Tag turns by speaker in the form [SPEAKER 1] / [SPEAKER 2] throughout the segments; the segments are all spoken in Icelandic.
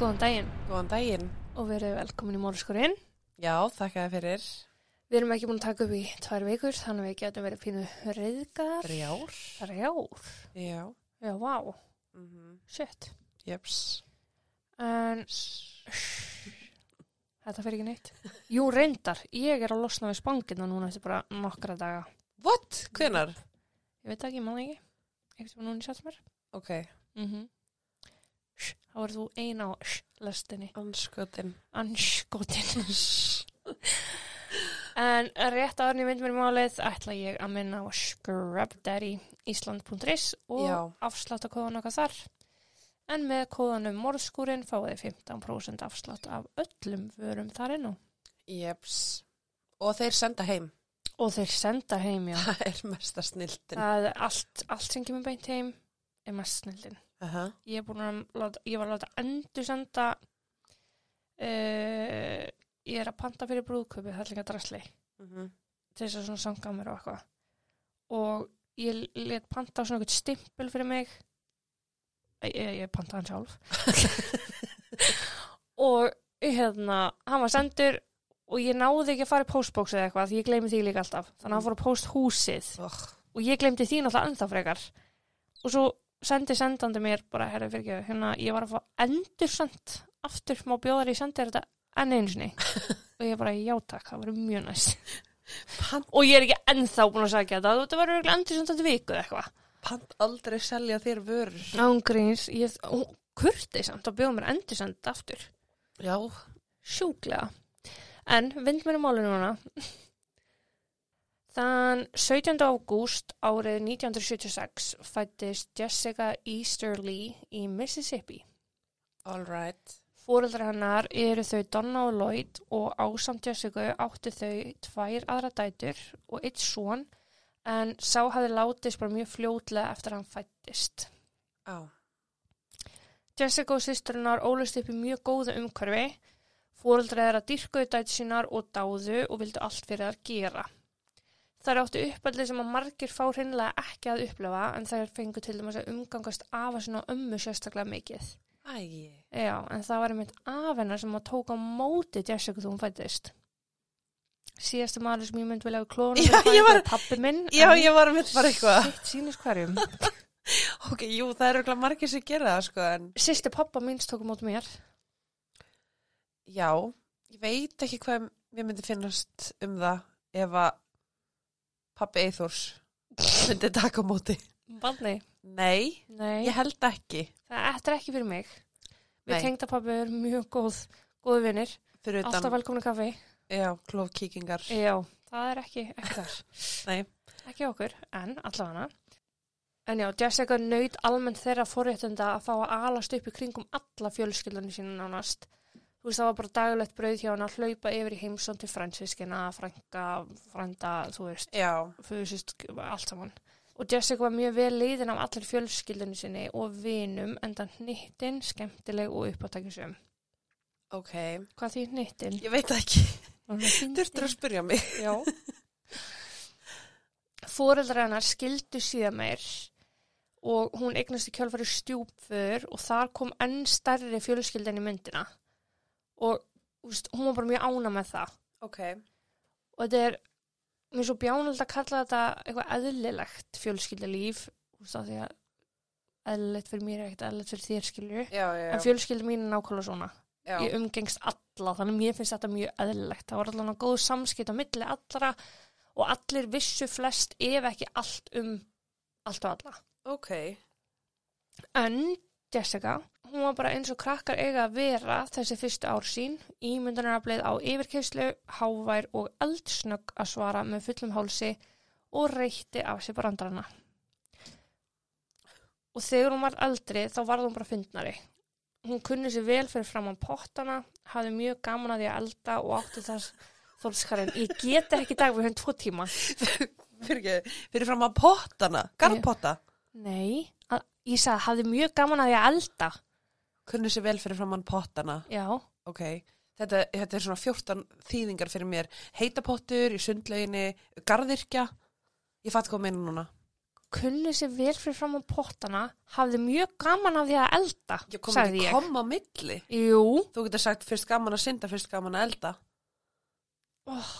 [SPEAKER 1] Góðan daginn
[SPEAKER 2] Góðan daginn.
[SPEAKER 1] og verið velkomin í Mórskurinn.
[SPEAKER 2] Já, þakka þér fyrir.
[SPEAKER 1] Við erum ekki búin að taka upp í tvær vikur þannig að við getum verið pínu reyðgar.
[SPEAKER 2] Rjár.
[SPEAKER 1] Rjár.
[SPEAKER 2] Já.
[SPEAKER 1] Já, vá, wow.
[SPEAKER 2] Mm -hmm.
[SPEAKER 1] shit.
[SPEAKER 2] Jöps.
[SPEAKER 1] En þetta fer ekki neitt. Jú, reyndar, ég er að losna við spangina núna eftir bara nokkra daga.
[SPEAKER 2] What? Hvenar?
[SPEAKER 1] Ég veit það ekki, maður ekki. Ekkert sem núna í satt mér.
[SPEAKER 2] Ok.
[SPEAKER 1] Mm -hmm. Þá verður þú ein á lestinni.
[SPEAKER 2] Anskotin.
[SPEAKER 1] Anskotin. En rétt áður en ég mynd mér í málið ætla ég að minna á scrubdaddy ísland.is og
[SPEAKER 2] Já.
[SPEAKER 1] afslátt að kóðan okkar þar. En með kóðanum morðskúrin fáið þið 15% afslátt af öllum vörum þar inn á.
[SPEAKER 2] Jöps. Og þeir senda heim.
[SPEAKER 1] Og þeir senda heim, já.
[SPEAKER 2] Það er mesta snildin.
[SPEAKER 1] Það er allt, allt sem kemur beint heim er mest snildin.
[SPEAKER 2] Aha.
[SPEAKER 1] Ég, er búin að láta, ég var að láta endur senda, uh, ég er að panta fyrir brúðköpi, það er líka drasli.
[SPEAKER 2] Mm -hmm.
[SPEAKER 1] til þess að svona sanga mér og eitthvað og ég let panta svona eitthvað stimpil fyrir mig ég, ég, ég panta hann sjálf og hérna, hann var sendur og ég náði ekki að fara í postbox eða eitthvað því ég gleymi því líka alltaf þannig að hann fór að post húsið
[SPEAKER 2] Oh.
[SPEAKER 1] og ég gleymdi því náttúrulega ennþá frekar og svo sendi sendandi mér bara, herra fyrir ekki, hérna ég var að fá endur send aftur má bjóðar ég sendi þér þetta enn einu sinni og ég bara, já takk, það var mjög næst
[SPEAKER 2] Pant,
[SPEAKER 1] og ég er ekki ennþá búin að sagja þetta þetta var örugglega endur sendandi viku eða eitthvað
[SPEAKER 2] pant aldrei selja þér vörur.
[SPEAKER 1] ángríns, ég hún kurti samt og bjóð mér endur send aftur
[SPEAKER 2] Já.
[SPEAKER 1] sjúklega en vind mér í máli núna Þann 17. ágúst árið 1976 fættist Jessica Easterly í Mississippi.
[SPEAKER 2] All right.
[SPEAKER 1] Fóreldrar hennar eru þau Donna og Lloyd og ásamt Jessica áttu þau tvær aðra dætur og eitt són en sá hafði látist bara mjög fljótlega eftir að hann fættist.
[SPEAKER 2] Á.
[SPEAKER 1] Jessica og sýsturinnar ólust upp í mjög góðu umhverfi. Fóreldrar þeirra dýrkuðu dætur sínar og dáðu og vildu allt fyrir þær gera. Þær áttu uppallið sem að margir fá hreinlega ekki að upplifa en þær fengu til dæmis að umgangast afa sinna og ömmu sérstaklega mikið.
[SPEAKER 2] Æ.
[SPEAKER 1] Já, en það var einmitt af hennar sem að tók á móti Jessica þegar hún fættist. Síðasti maður sem ég myndi vilja að klóna
[SPEAKER 2] Já, ég var-
[SPEAKER 1] pappi minn.
[SPEAKER 2] Já,
[SPEAKER 1] en
[SPEAKER 2] ég var að mitt bara eitthvað.
[SPEAKER 1] Sitt sýnist hverjum.
[SPEAKER 2] Ok, jú, það eru ekki margir sem gera það, sko, en
[SPEAKER 1] Sýsti pappa míns tók á móti mér.
[SPEAKER 2] já, ég veit ekki hvað mér myndi finnast um það ef að pappi Eithors myndi taka á móti.
[SPEAKER 1] Barni.
[SPEAKER 2] Nei,
[SPEAKER 1] Nei,
[SPEAKER 2] ég held ekki
[SPEAKER 1] það ættir ekki fyrir mig. Við
[SPEAKER 2] Nei.
[SPEAKER 1] tengda pappi erum mjög góð, góð vinnir.
[SPEAKER 2] fyrir utan,
[SPEAKER 1] Alltaf velkomni kaffi.
[SPEAKER 2] já, klófkíkingar.
[SPEAKER 1] Já, það er ekki, ekki þar.
[SPEAKER 2] Nei,
[SPEAKER 1] ekki okkur, en allavega En já, Jessica naut almennt þeirra forréttunda að fá að alast upp í kringum alla fjölskyldunni sína nánast. Þú veist, það var bara daglegt brauð hjá hann að hlaupa yfir í heimsón til fransiskina, frænka, frænda, þú veist,
[SPEAKER 2] já,
[SPEAKER 1] fyrst, allt saman. Og Jessica var mjög vel leiðin af allir fjölskyldunni sinni og vinum, enda hnittin, skemmtileg og uppátækisum.
[SPEAKER 2] ok,
[SPEAKER 1] Hvað því hnittin?
[SPEAKER 2] ég veit ekki, þurftur
[SPEAKER 1] Þurftur
[SPEAKER 2] að spyrja mig.
[SPEAKER 1] Já. Fóreldra hennar skildu síðan meir og hún eignast í kjálfari stjúpfur og þar kom enn stærri fjölskyldin í myndina. Og úst, hún var bara mjög ána með það.
[SPEAKER 2] Ok,
[SPEAKER 1] Og þetta er, mér er svo bjánald að kalla þetta eitthvað eðlilegt fjölskyldilíf, úst, af því að eðlilegt fyrir mér er ekkert eðlilegt fyrir þér skilju.
[SPEAKER 2] já, já,
[SPEAKER 1] En fjölskyldin mín er nákvæmlega svona
[SPEAKER 2] já,
[SPEAKER 1] ég umgengst alla þannig að mér finnst þetta mjög eðlilegt það var allan að góð samskipt á milli allra og allir vissu flest ef ekki allt um allt og alla
[SPEAKER 2] ok,
[SPEAKER 1] en Jessica hún var bara eins og krakkar eiga að vera þessi fyrstu ár sín ímyndunaraflið á yfirkeislu, hávær og eldsnögg að svara með fullum hálsi og reytti af sér brandarana og þegar hún var eldri þá varð hún bara fyndnari hún kunni sér vel fyrir fram á pottana hafði mjög gaman að því að elda og átti þar þólskarinn ég get ekki í dag við höfum tvo tíma
[SPEAKER 2] fyrir ekki, fyrir fram að pottana, garðpotta,
[SPEAKER 1] nei, að, ég sagði hafði mjög gaman að því að elda
[SPEAKER 2] kunnu sér vel fyrir fram að pottana,
[SPEAKER 1] já,
[SPEAKER 2] ok. Þetta, þetta er svona 14 þýðingar fyrir mér. Heitapottur í sundlauginni, garðirkja, ég fatt hvað meina núna.
[SPEAKER 1] kunni sér vel fyrir fram á pottana hafði mjög gaman af því að elda
[SPEAKER 2] Ég kom
[SPEAKER 1] sagði
[SPEAKER 2] ekki
[SPEAKER 1] ég
[SPEAKER 2] kom á milli.
[SPEAKER 1] Jú,
[SPEAKER 2] Þú getur sagt fyrst gaman að synda, fyrst gaman að elda.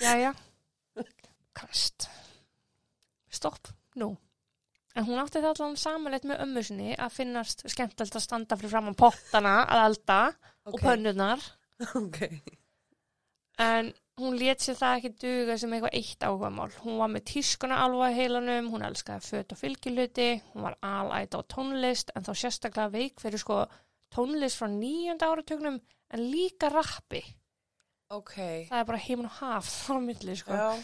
[SPEAKER 1] jæja Krist Stopp, nú En hún átti það allan samanleitt með ömmu sinni að finnast skemmtilegt að standa fyrir fram á pottana að elda og pönnurnar
[SPEAKER 2] Ok.
[SPEAKER 1] en hún lét sér það ekki duga sem eitthvað eitt áhugamál. Hún var með tískuna alveg að heilanum, hún elskaði föt og fylgiluti, hún var alæta á tónlist en þá sérstaklega veik fyrir sko tónlist frá nýjönda áratugnum en líka rappi.
[SPEAKER 2] Ok.
[SPEAKER 1] Það er bara heimn og haf frá milli sko.
[SPEAKER 2] Já.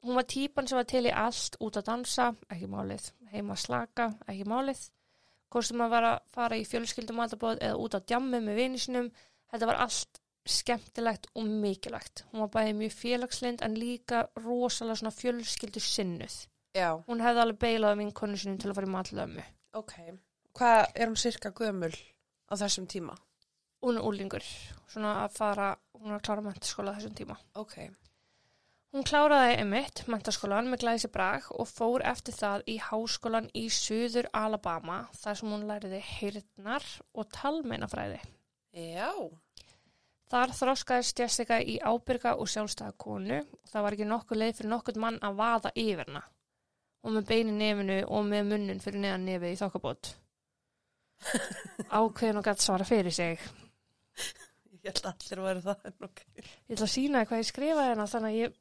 [SPEAKER 1] Hún var típan sem var til í allt, út að dansa, ekki málið, heima að slaka, ekki málið. Kostum að vera, fara í fjölskyldum aldabóð eða út að djammi með vinisinum. Þetta var allt skemmtilegt og mikilvægt. Hún var bæði mjög félagslind en líka rosalega svona fjölskyldu sinnuð.
[SPEAKER 2] Já.
[SPEAKER 1] Hún hefði alveg beilað um vinkonu sinum til að fara í matlömmu.
[SPEAKER 2] Ok. Hvað er hún sirka gömul á þessum tíma?
[SPEAKER 1] Hún er úlingur, svona að fara, hún er að klára mentaskóla á þessum tíma.
[SPEAKER 2] Ok.
[SPEAKER 1] Hún kláraði einmitt mentaskólan með glæsi brag og fór eftir það í háskólan í Suður Alabama þar sem hún læriði heyrnar og talmeinafræði.
[SPEAKER 2] Já.
[SPEAKER 1] Þar þroskaðist Jessica í ábyrga og sjálfstæða konu. Það var ekki nokkuð leið fyrir nokkuð mann að vaða yfir hana og með beini nefinu og með munnin fyrir neðan nefið í þokkabót. Ákveðin og gætt svara fyrir sig.
[SPEAKER 2] Ég held að allir væri það en ok.
[SPEAKER 1] Ég ætla að sína hvað ég skrifaði hana þannig að ég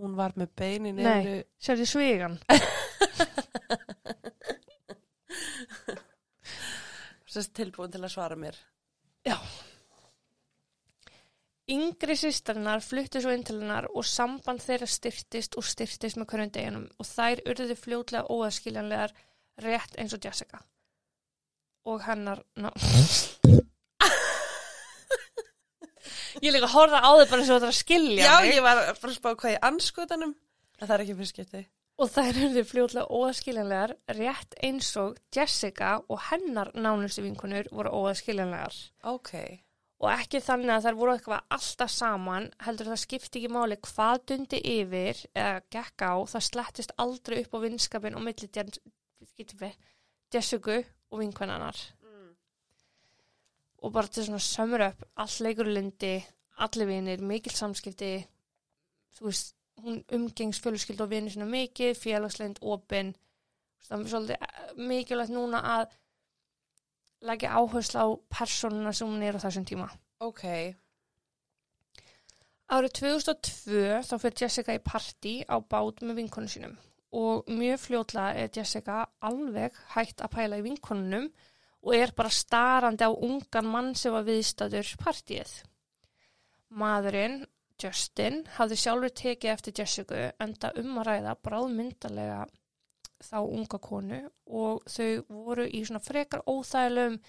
[SPEAKER 2] Hún var með beinin
[SPEAKER 1] Nei.
[SPEAKER 2] yfir.
[SPEAKER 1] Sérðu svigan.
[SPEAKER 2] Sérst tilbúin til að svara mér.
[SPEAKER 1] Yngri sýstarinnar fluttu svo inn til hennar og samband þeirra styrtist og styrtist með hverjum deginum og þær urðu fljótlega óaskiljanlegar rétt eins og Jessica. Og hennar, ná... ég er líka að horfa á þau bara svo það er að skilja
[SPEAKER 2] Já,
[SPEAKER 1] mig.
[SPEAKER 2] ég var bara að spá hvað ég anskotanum. En það er ekki fyrir skipti.
[SPEAKER 1] Og þær urðu fljótlega óaskiljanlegar rétt eins og Jessica og hennar nánustu vinkunur voru óaskiljanlegar.
[SPEAKER 2] Ok.
[SPEAKER 1] og ekki þannig að þær voru eitthvað alltaf saman, heldur það skipti ekki máli hvað dundi yfir eða gekk á, það slettist aldrei upp á vinskapin og milli Jen- getum við, Jessica og vinkvennanar og bara til svona sömur upp allt leikurlindi, allir vinir mikil samskipti þú veist, hún umgengs fjöluskild og vinir sinna mikið, félagslind, opin það er svolítið eh, mikilvægt núna að leggja áherslu á persónuna sem hún er á þessum tíma
[SPEAKER 2] Ok.
[SPEAKER 1] Árið 2002 þá fyrir Jessica í partí á bát með vinkonu sínum og mjög fljótlega er Jessica alveg hægt að pæla í vinkonunum og er bara starandi á ungan mann sem var viðstæður partíið. Maðurinn, Justin, hafði sjálfur tekið eftir Jessica enda um að ræða bráðmyndarlega þá unga konu og þau voru í svona frekar óþægilegum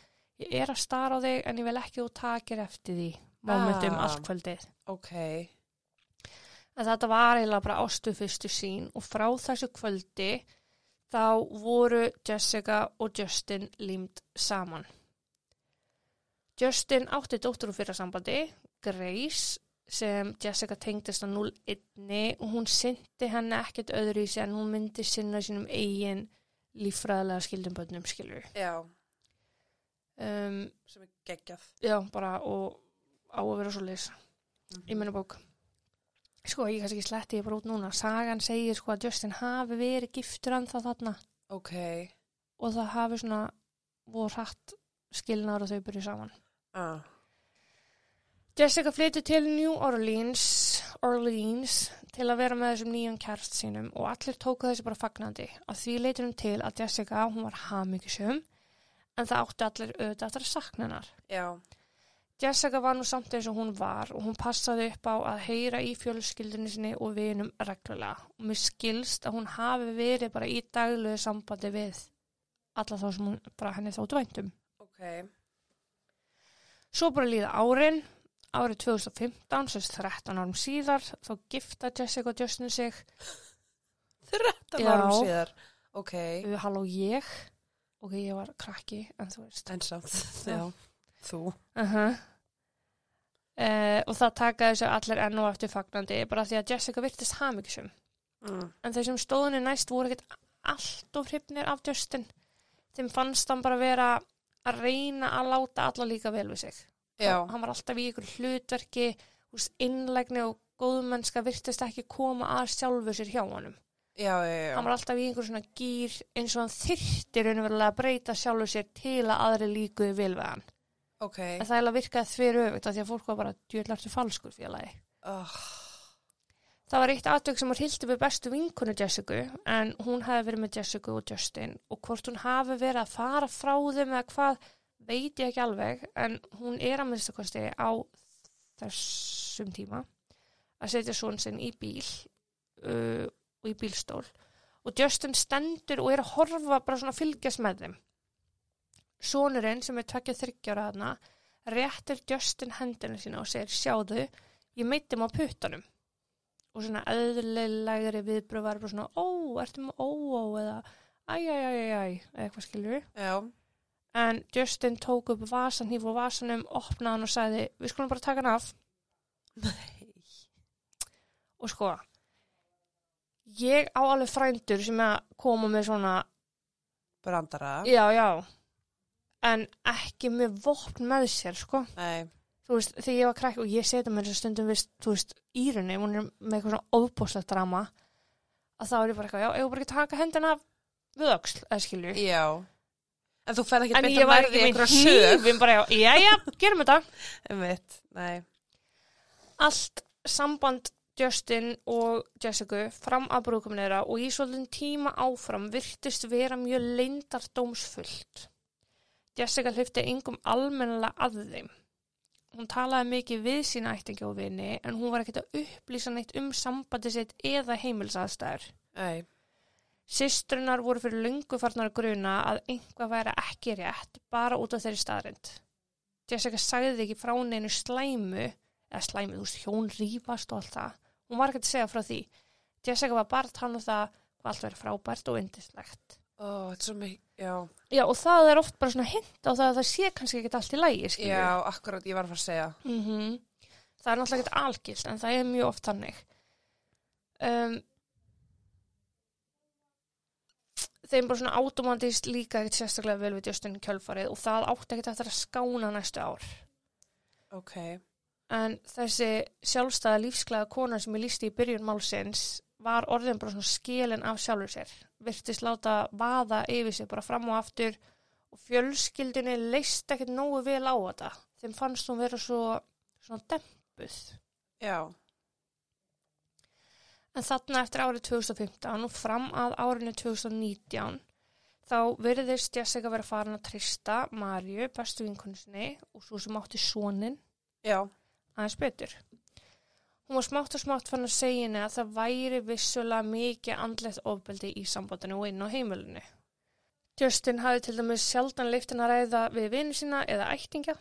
[SPEAKER 1] ég er að stara á þig en ég vil ekki að þú takir eftir því momentum
[SPEAKER 2] Ah.
[SPEAKER 1] allt kvöldið.
[SPEAKER 2] Ok.
[SPEAKER 1] En þetta var eiginlega bara ástu fyrstu sín og frá þessu kvöldi þá voru Jessica og Justin límt saman. Justin átti dóttur úr fyrra sambandi, Grace, sem Jessica tengdist á 0-1 og hún synti henni ekkert öðru í sig en hún myndi sinna sínum eigin líffræðilega skildum bönnum skilur.
[SPEAKER 2] Já.
[SPEAKER 1] Um,
[SPEAKER 2] Sem er geggjað.
[SPEAKER 1] já, bara og á að vera svo leys. í minna bók sko ég kannski sletti ég bara út núna sagan segir sko að Justin hafi verið giftur ennþá þarna
[SPEAKER 2] Ok.
[SPEAKER 1] og það hafi svona voru hratt skilnaður og þau byrju saman
[SPEAKER 2] Ah.
[SPEAKER 1] Jessica flyttu til New Orleans Orleans til að vera með þessum nýjum kærst sínum og allir tóku þessu bara fagnandi að því leitur hún til að Jessica hún var hamingisum en það áttu allir auðvitað eftir að sakna hennar
[SPEAKER 2] Já.
[SPEAKER 1] Jessica var nú samt eins og hún var og hún passaði upp á að heyra í fjölskyldunni sinni og vinum reglulega og mér skilst að hún hafi verið bara í daglegu sambandi við alla þá sem hún bara henni þóttu væntum.
[SPEAKER 2] Ok.
[SPEAKER 1] Svo bara líða árin, árið 2015, sérst 13 árum síðar, þá gifta Jessica og Justin sig
[SPEAKER 2] Þrettan
[SPEAKER 1] Já.
[SPEAKER 2] árum síðar. Ok.
[SPEAKER 1] við halló ég, ok ég var krakki en þú veist.
[SPEAKER 2] En samt.
[SPEAKER 1] Já.
[SPEAKER 2] Já. Þú.
[SPEAKER 1] Uh Eh, og það taka þessu allir enn og eftir fagnandi bara því að Jessica virtist hamingisum
[SPEAKER 2] Mm.
[SPEAKER 1] en þeir sem stóðunni næst voru ekkert allt of hrifnir af Justin þeim fannst hann bara vera að reyna að láta alla líka vel við sig
[SPEAKER 2] Já,
[SPEAKER 1] hann var alltaf í ykkur hlutverki úst, innlegni og góðmennska virtist ekki koma að sjálfu sér hjá honum
[SPEAKER 2] já, já, já.
[SPEAKER 1] hann var alltaf í einhver svona gýr eins og hann þyrfti raunverulega að breyta sjálfu sér til að aðri líkuði vel við hann
[SPEAKER 2] Ok.
[SPEAKER 1] en það er að virkaði þveru öfugt af því að fólk var bara djöðlartu falskur félagi
[SPEAKER 2] Oh.
[SPEAKER 1] Það var eitt atveg sem hún hildi við bestu vinkonu Jessica en hún hafi verið með Jessica og Justin og hvort hún hafi verið að fara frá þeim eða hvað veit ég ekki alveg en hún er að minnstakosti á þessum tíma að setja svona sinn í bíl uh, og í bílstól og Justin stendur og er að horfa bara svona að fylgjast með þeim. Sónurinn sem er 23 ára hana réttir Justin hendina sína og segir sjáðu, ég meitti mig á puttanum og svona öðlilegri viðbröð var bara svona ó, ertu með ó, ó eða æ, æ, æ, æ, æ, eða eitthvað skilur
[SPEAKER 2] Já,
[SPEAKER 1] en Justin tók upp vasanhýf og vasanum, opnaði hann og sagði við skulum bara taka hann af og sko ég á alveg frændur sem að koma með svona
[SPEAKER 2] brandara.
[SPEAKER 1] já, já en ekki með vopn með sér sko
[SPEAKER 2] Nei,
[SPEAKER 1] þú veist, þegar ég var krakk og ég setja mér þess að stundum við, þú veist, írunni, hún er með eitthvað svona óbúslegt drama að þá er ég bara eitthvað, já, ég var bara ekki að taka hendina af við öxl, eða skilju
[SPEAKER 2] já. En þú ferð ekki
[SPEAKER 1] en
[SPEAKER 2] beint
[SPEAKER 1] ég
[SPEAKER 2] að
[SPEAKER 1] var
[SPEAKER 2] verði
[SPEAKER 1] ekki með
[SPEAKER 2] einhverja sög.
[SPEAKER 1] hnífin bara, já, já, já, gerum þetta
[SPEAKER 2] Einmitt, nei.
[SPEAKER 1] allt samband Justin og Jessica fram að brúkum þeirra og í svolítinn tíma áfram virtist vera mjög leindardómsfullt. Jessica hlifti engum almennilega að þeim. Hún talaði mikið við sína ættingi og vini en hún var ekkert að upplýsa neitt um sambandi sitt eða heimilsaðstæður.
[SPEAKER 2] Nei,
[SPEAKER 1] Systrunar voru fyrir lungu farnar að gruna að einhvað væri ekki rétt bara út af þeirri staðrind. Jessica sagði ekki frá neinu slæmu, eða slæmu, þú veist, hjón rýfast og allt það. Hún var ekki að segja frá því. Jessica var bara að tala um það hvað allt verið frábært og indislegt.
[SPEAKER 2] ó, þetta er svo mikið, já.
[SPEAKER 1] Já, og það er oft bara svona hint á það að það sé kannski ekki allt í lægi, skiljum.
[SPEAKER 2] Já, akkurat, ég var að fara að segja.
[SPEAKER 1] -hmm. Það er náttúrulega ekkert algilt en það er mjög oft þannig. Um, þeim bara svona automatist líka ekkert sérstaklega vel við Justin í kjölfarið og það átti ekkert eftir að skána næstu ár.
[SPEAKER 2] Ok,
[SPEAKER 1] En þessi sjálfstæða lífsklega kona sem ég lísti í byrjun málsins var orðin bara svona skilin af sjálfur sér. Virtist láta vaða yfir sér bara fram og aftur og fjölskyldinni leist ekkert nógu vel á þetta. Þeim fannst hún vera svo svona dempuð.
[SPEAKER 2] já.
[SPEAKER 1] En þarna eftir árið 2015 og fram að árinu 2019 þá virðist Jessica vera farin að trista Marju, bestu vinkunnsni og svo sem átti sonin
[SPEAKER 2] Já,
[SPEAKER 1] aðeins betur. Hún var smátt og smátt fann að segja henni að það væri vissulega mikið andlegt ofbeldi í sambandinu og inn á heimilinu. Justin hafði til dæmis sjaldan leiftin að ræða við vinu sína eða ættingja.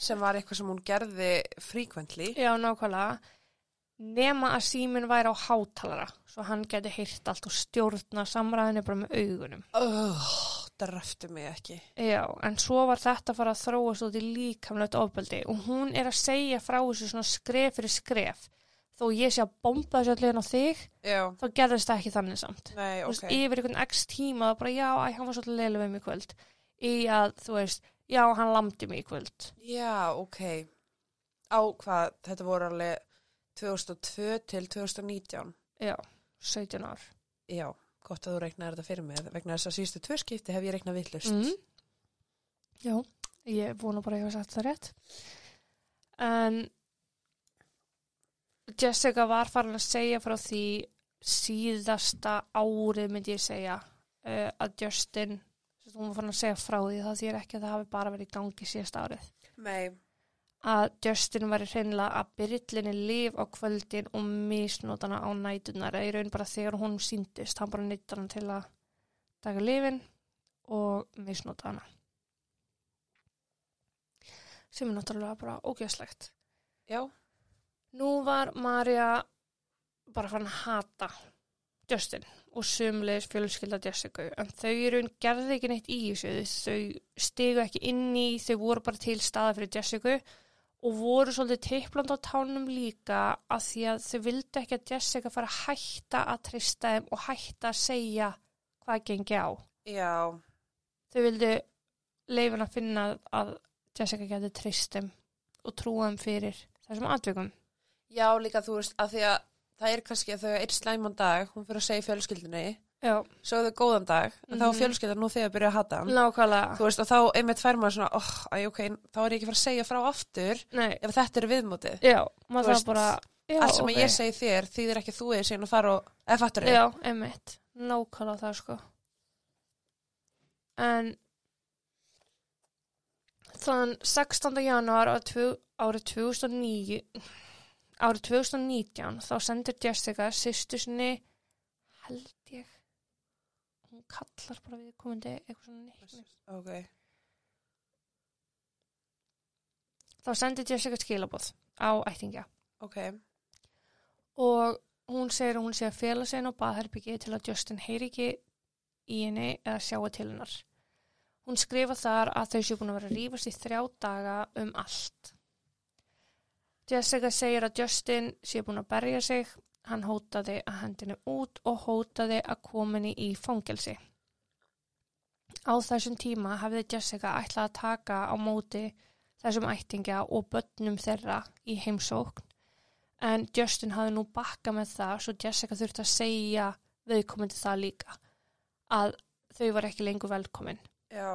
[SPEAKER 2] sem var eitthvað sem hún gerði frequently.
[SPEAKER 1] Já, nákvæmlega. Nema að síminn væri á hátalara, svo hann geti heyrt allt og stjórna samræðinu bara með augunum.
[SPEAKER 2] Oh, það röftu mig ekki.
[SPEAKER 1] Já, en svo var þetta að fara að þróast út í líkamlegt ofbeldi og hún er að segja frá þessu svona skref fyrir skref. Þó ég sé að bomba þessu allir á þig,
[SPEAKER 2] Já,
[SPEAKER 1] þá gerðist það ekki þannig samt.
[SPEAKER 2] nei,
[SPEAKER 1] Þú veist,
[SPEAKER 2] ok.
[SPEAKER 1] yfir einhvern x tíma, þá bara já, æ, hann var svolítið leilu við mig í kvöld. Í að, þú veist, já, hann lamdi mig í kvöld.
[SPEAKER 2] Já, ok. Á hvað, þetta voru alveg 2002 til 2019.
[SPEAKER 1] Já, 17 ár.
[SPEAKER 2] Já, gott að þú reiknaði þetta fyrir mig. Vegna þess að síðustu tvö skipti hef ég reiknað villust.
[SPEAKER 1] Mm. Já, ég vona bara að ég hef sagt það rétt. En Jessica var farin að segja frá því síðasta árið myndi ég segja uh, að Justin, sem sagt, hún var farin að segja frá því það þýr ekki að það hafi bara verið í gangi síðasta árið.
[SPEAKER 2] Nei,
[SPEAKER 1] að Justin væri hreinlega að byrjlinni lif á kvöldin og misnótana á nætunar eða í raun bara þegar hún síndist hann bara nýttar hann til að taka lifin og misnóta hana sem er náttúrulega bara ógeðslegt
[SPEAKER 2] já,
[SPEAKER 1] nú var Marja bara farin að hata Justin og sumleis fjölskylda Jessica en þau í raun gerði ekki neitt í þessu þau stigu ekki inn í þau voru bara til staða fyrir Jessica og voru svolítið tipland á tánum líka af því að þau vildu ekki að Jessica fara að hætta að trista þeim og hætta að segja hvað gengi á.
[SPEAKER 2] Já,
[SPEAKER 1] Þau vildu leifin að finna að Jessica geti tristum og trúa þeim fyrir þessum atvikum.
[SPEAKER 2] já líka þú veist að því að það er kannski að þau er eitt slæman dag, hún fyrir að segja fjölskyldinni
[SPEAKER 1] Já,
[SPEAKER 2] svo er þau góðan dag, en þá er
[SPEAKER 1] Mhm.
[SPEAKER 2] fjölskyldan nú þegar að byrja að hata hann
[SPEAKER 1] nákvæmlega.
[SPEAKER 2] þú veist og þá einmitt fær maður svona oh, æ, ok, þá er ég ekki fara að segja frá aftur
[SPEAKER 1] Nei,
[SPEAKER 2] ef þetta eru viðmótið
[SPEAKER 1] já,
[SPEAKER 2] Þú
[SPEAKER 1] maður
[SPEAKER 2] veist,
[SPEAKER 1] það bara... Já,
[SPEAKER 2] allt sem
[SPEAKER 1] ok.
[SPEAKER 2] ég segi þér þýðir ekki að þú er síðan og þar og eða fattur
[SPEAKER 1] Já, einmitt. Nákvæmlega það sko. En þann 16. januar á tvu- árið 2009 árið 2019 þá sendur Jessica sýstu sinni held ég hún kallar bara við komandi eitthvað svona nýtt
[SPEAKER 2] ok,
[SPEAKER 1] þá sendir Jessica skilaboð á ættingja
[SPEAKER 2] ok,
[SPEAKER 1] og hún segir að hún sé að fela sig inn á baðherbyggi til að Justin heyri ekki í henni eða sjáu til hennar. Hún skrifa þar að þau séu búin að vera að rífast í þrjá daga um allt. Jessica segir að Justin sé búin að berja sig, hann hótaði að hendinu út og hótaði að koma henni í fangelsi. Á þessum tíma hafði Jessica ætlað að taka á móti þessum ættingja og börnum þeirra í heimsókn en Justin hafði nú bakka með það svo Jessica þurfti að segja viðkomandi það líka að þau var ekki lengur velkomin
[SPEAKER 2] já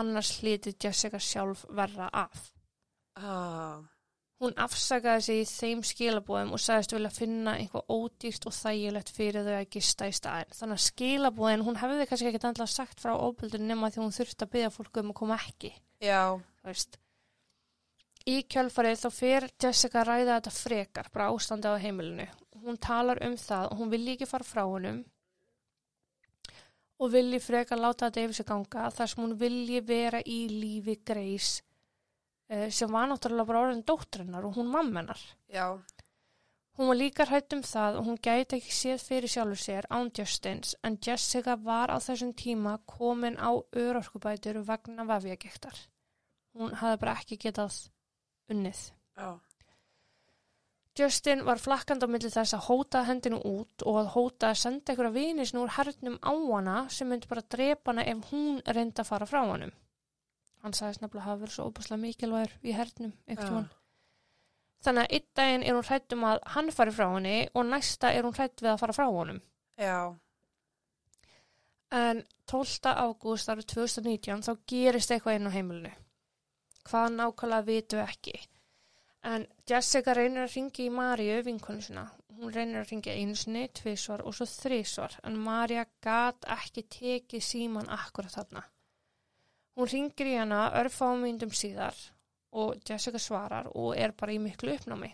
[SPEAKER 1] annars hliti Jessica sjálf verra af
[SPEAKER 2] ah,
[SPEAKER 1] hún afsakaði sig í þeim skilabóðum og sagðist vilja finna eitthvað ódýrt og þægilegt fyrir þau að gista í staðin þannig að skilabóðin, hún hefði kannski ekkit andla sagt frá óbyldur nema því hún þurfti að byggja fólk um að koma ekki
[SPEAKER 2] já,
[SPEAKER 1] þú veist. Í kjölfarið þá fer Jessica að ræða þetta frekar, bara ástandi á heimilinu. Hún talar um það og hún vilji ekki fara frá honum og vilji frekar láta þetta yfir sig ganga þar sem hún vilji vera í lífi Greys sem var náttúrulega bara orðin dóttrinnar og hún mammenar.
[SPEAKER 2] já
[SPEAKER 1] Hún var líka hrætt um það og hún gæti ekki séð fyrir sjálfur sér án Justins en Jessica var á þessum tíma komin á örorkubætur vegna vefjagektar. Hún hafði bara ekki getað unnið.
[SPEAKER 2] já,
[SPEAKER 1] Justin var flakkand á milli þess að hóta hendinu út og að hóta að senda einhverja vinisn úr hernum á hana sem myndi bara drepa hana ef hún reyndi að fara frá honum. Hann sagðist nefnilega hafa verið svo óbúslega mikilvægur í hernum einhvern
[SPEAKER 2] já.
[SPEAKER 1] tímann. Þannig að einn daginn er hún hrætt um að hann fari frá henni og næsta er hún hrætt við að fara frá honum.
[SPEAKER 2] já,
[SPEAKER 1] En 12. ágúst árið 2019 þá gerist eitthvað inn á heimilinu. Hvað nákvæmlega vitum við ekki. En Jessica reynir að ringi í Maríu vinkonu sinna. Hún reynir að ringi einu sinni, tvisvar og svo þrisvar. En María gat ekki tekið síman akkurat þarna. Hún ringir í hana örfáum myndum síðar og Jessica svarar og er bara í miklu uppnámi.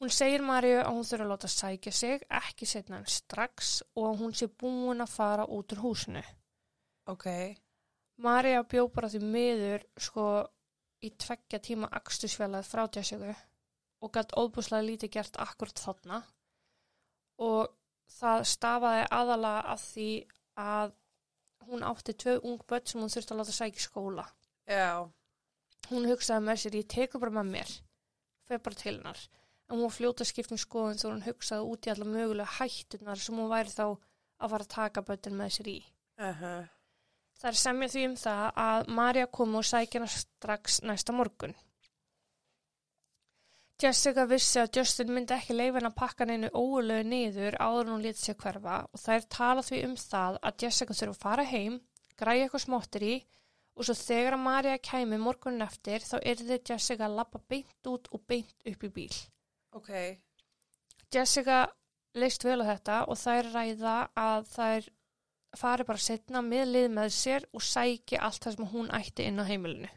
[SPEAKER 1] Hún segir Maríu að hún þurfa að láta sækja sig, ekki setna en strax og að hún sé búin að fara út úr húsinu.
[SPEAKER 2] ok
[SPEAKER 1] Maríu bjó bara því miður sko í tveggja tíma akstusfjalað frá Jessica og gætt óbúslega lítið gert akkurat þarna og það stafaði aðalega af því að hún átti tvö ung börn sem hún þurfti að láta sækja í skóla.
[SPEAKER 2] já,
[SPEAKER 1] hún hugsaði með sér, ég tekur bara með mér fer bara til hennar en hún var fljóta skiptum skoðun þó hún hugsaði út í allar mögulega hættunar sem hún væri þá að fara að taka bötin með sér í
[SPEAKER 2] uh
[SPEAKER 1] það er semja því um það að Marja kom og sækja hana strax næsta morgun Jessica vissi að Justin myndi ekki leifa henni að pakka henni óulegu niður áður en hún lítið sér hverfa og þær tala því um það að Jessica þurfa að fara heim, græja eitthvað smóttir í og svo þegar að Marja kæmi morgunin eftir þá yrði Jessica að lappa beint út og beint upp í bíl.
[SPEAKER 2] ok
[SPEAKER 1] Jessica leist vel á þetta og þær ræða að þær fari bara setna með lið með sér og sæki allt það sem hún ætti inn á heimilinu.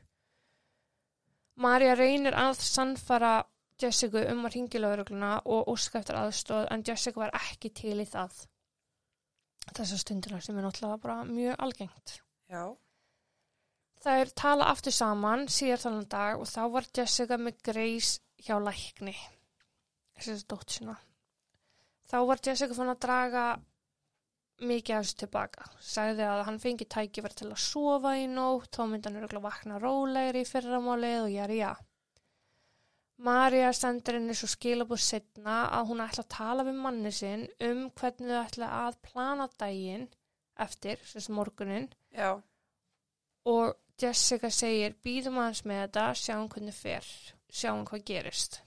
[SPEAKER 1] Marja reynir að sannfara Jessica um að ringi lögregluna og óska eftir aðstóð en Jessica var ekki til í það þessa stundina sem er náttúrulega bara mjög algengt.
[SPEAKER 2] já,
[SPEAKER 1] Þær tala aftur saman síðar þannig dag og þá var Jessica með Grace hjá lækni. Þessi dótt sína. Þá var Jessica fann að draga mikið hans tilbaka. Sagði að hann fengi tækifæri til að sofa í nótt, þá myndi hann örgulega vakna rólegri í fyrramálið og jari já. Marja sendir henni svo skilabúð setna að hún ætla að tala við manni sinn um hvernig þau ætla að plana daginn eftir, sem sagt morguninn,
[SPEAKER 2] Já.
[SPEAKER 1] og Jessica segir, býðum aðeins með þetta, sjáum hvernig fer, sjáum hvað gerist.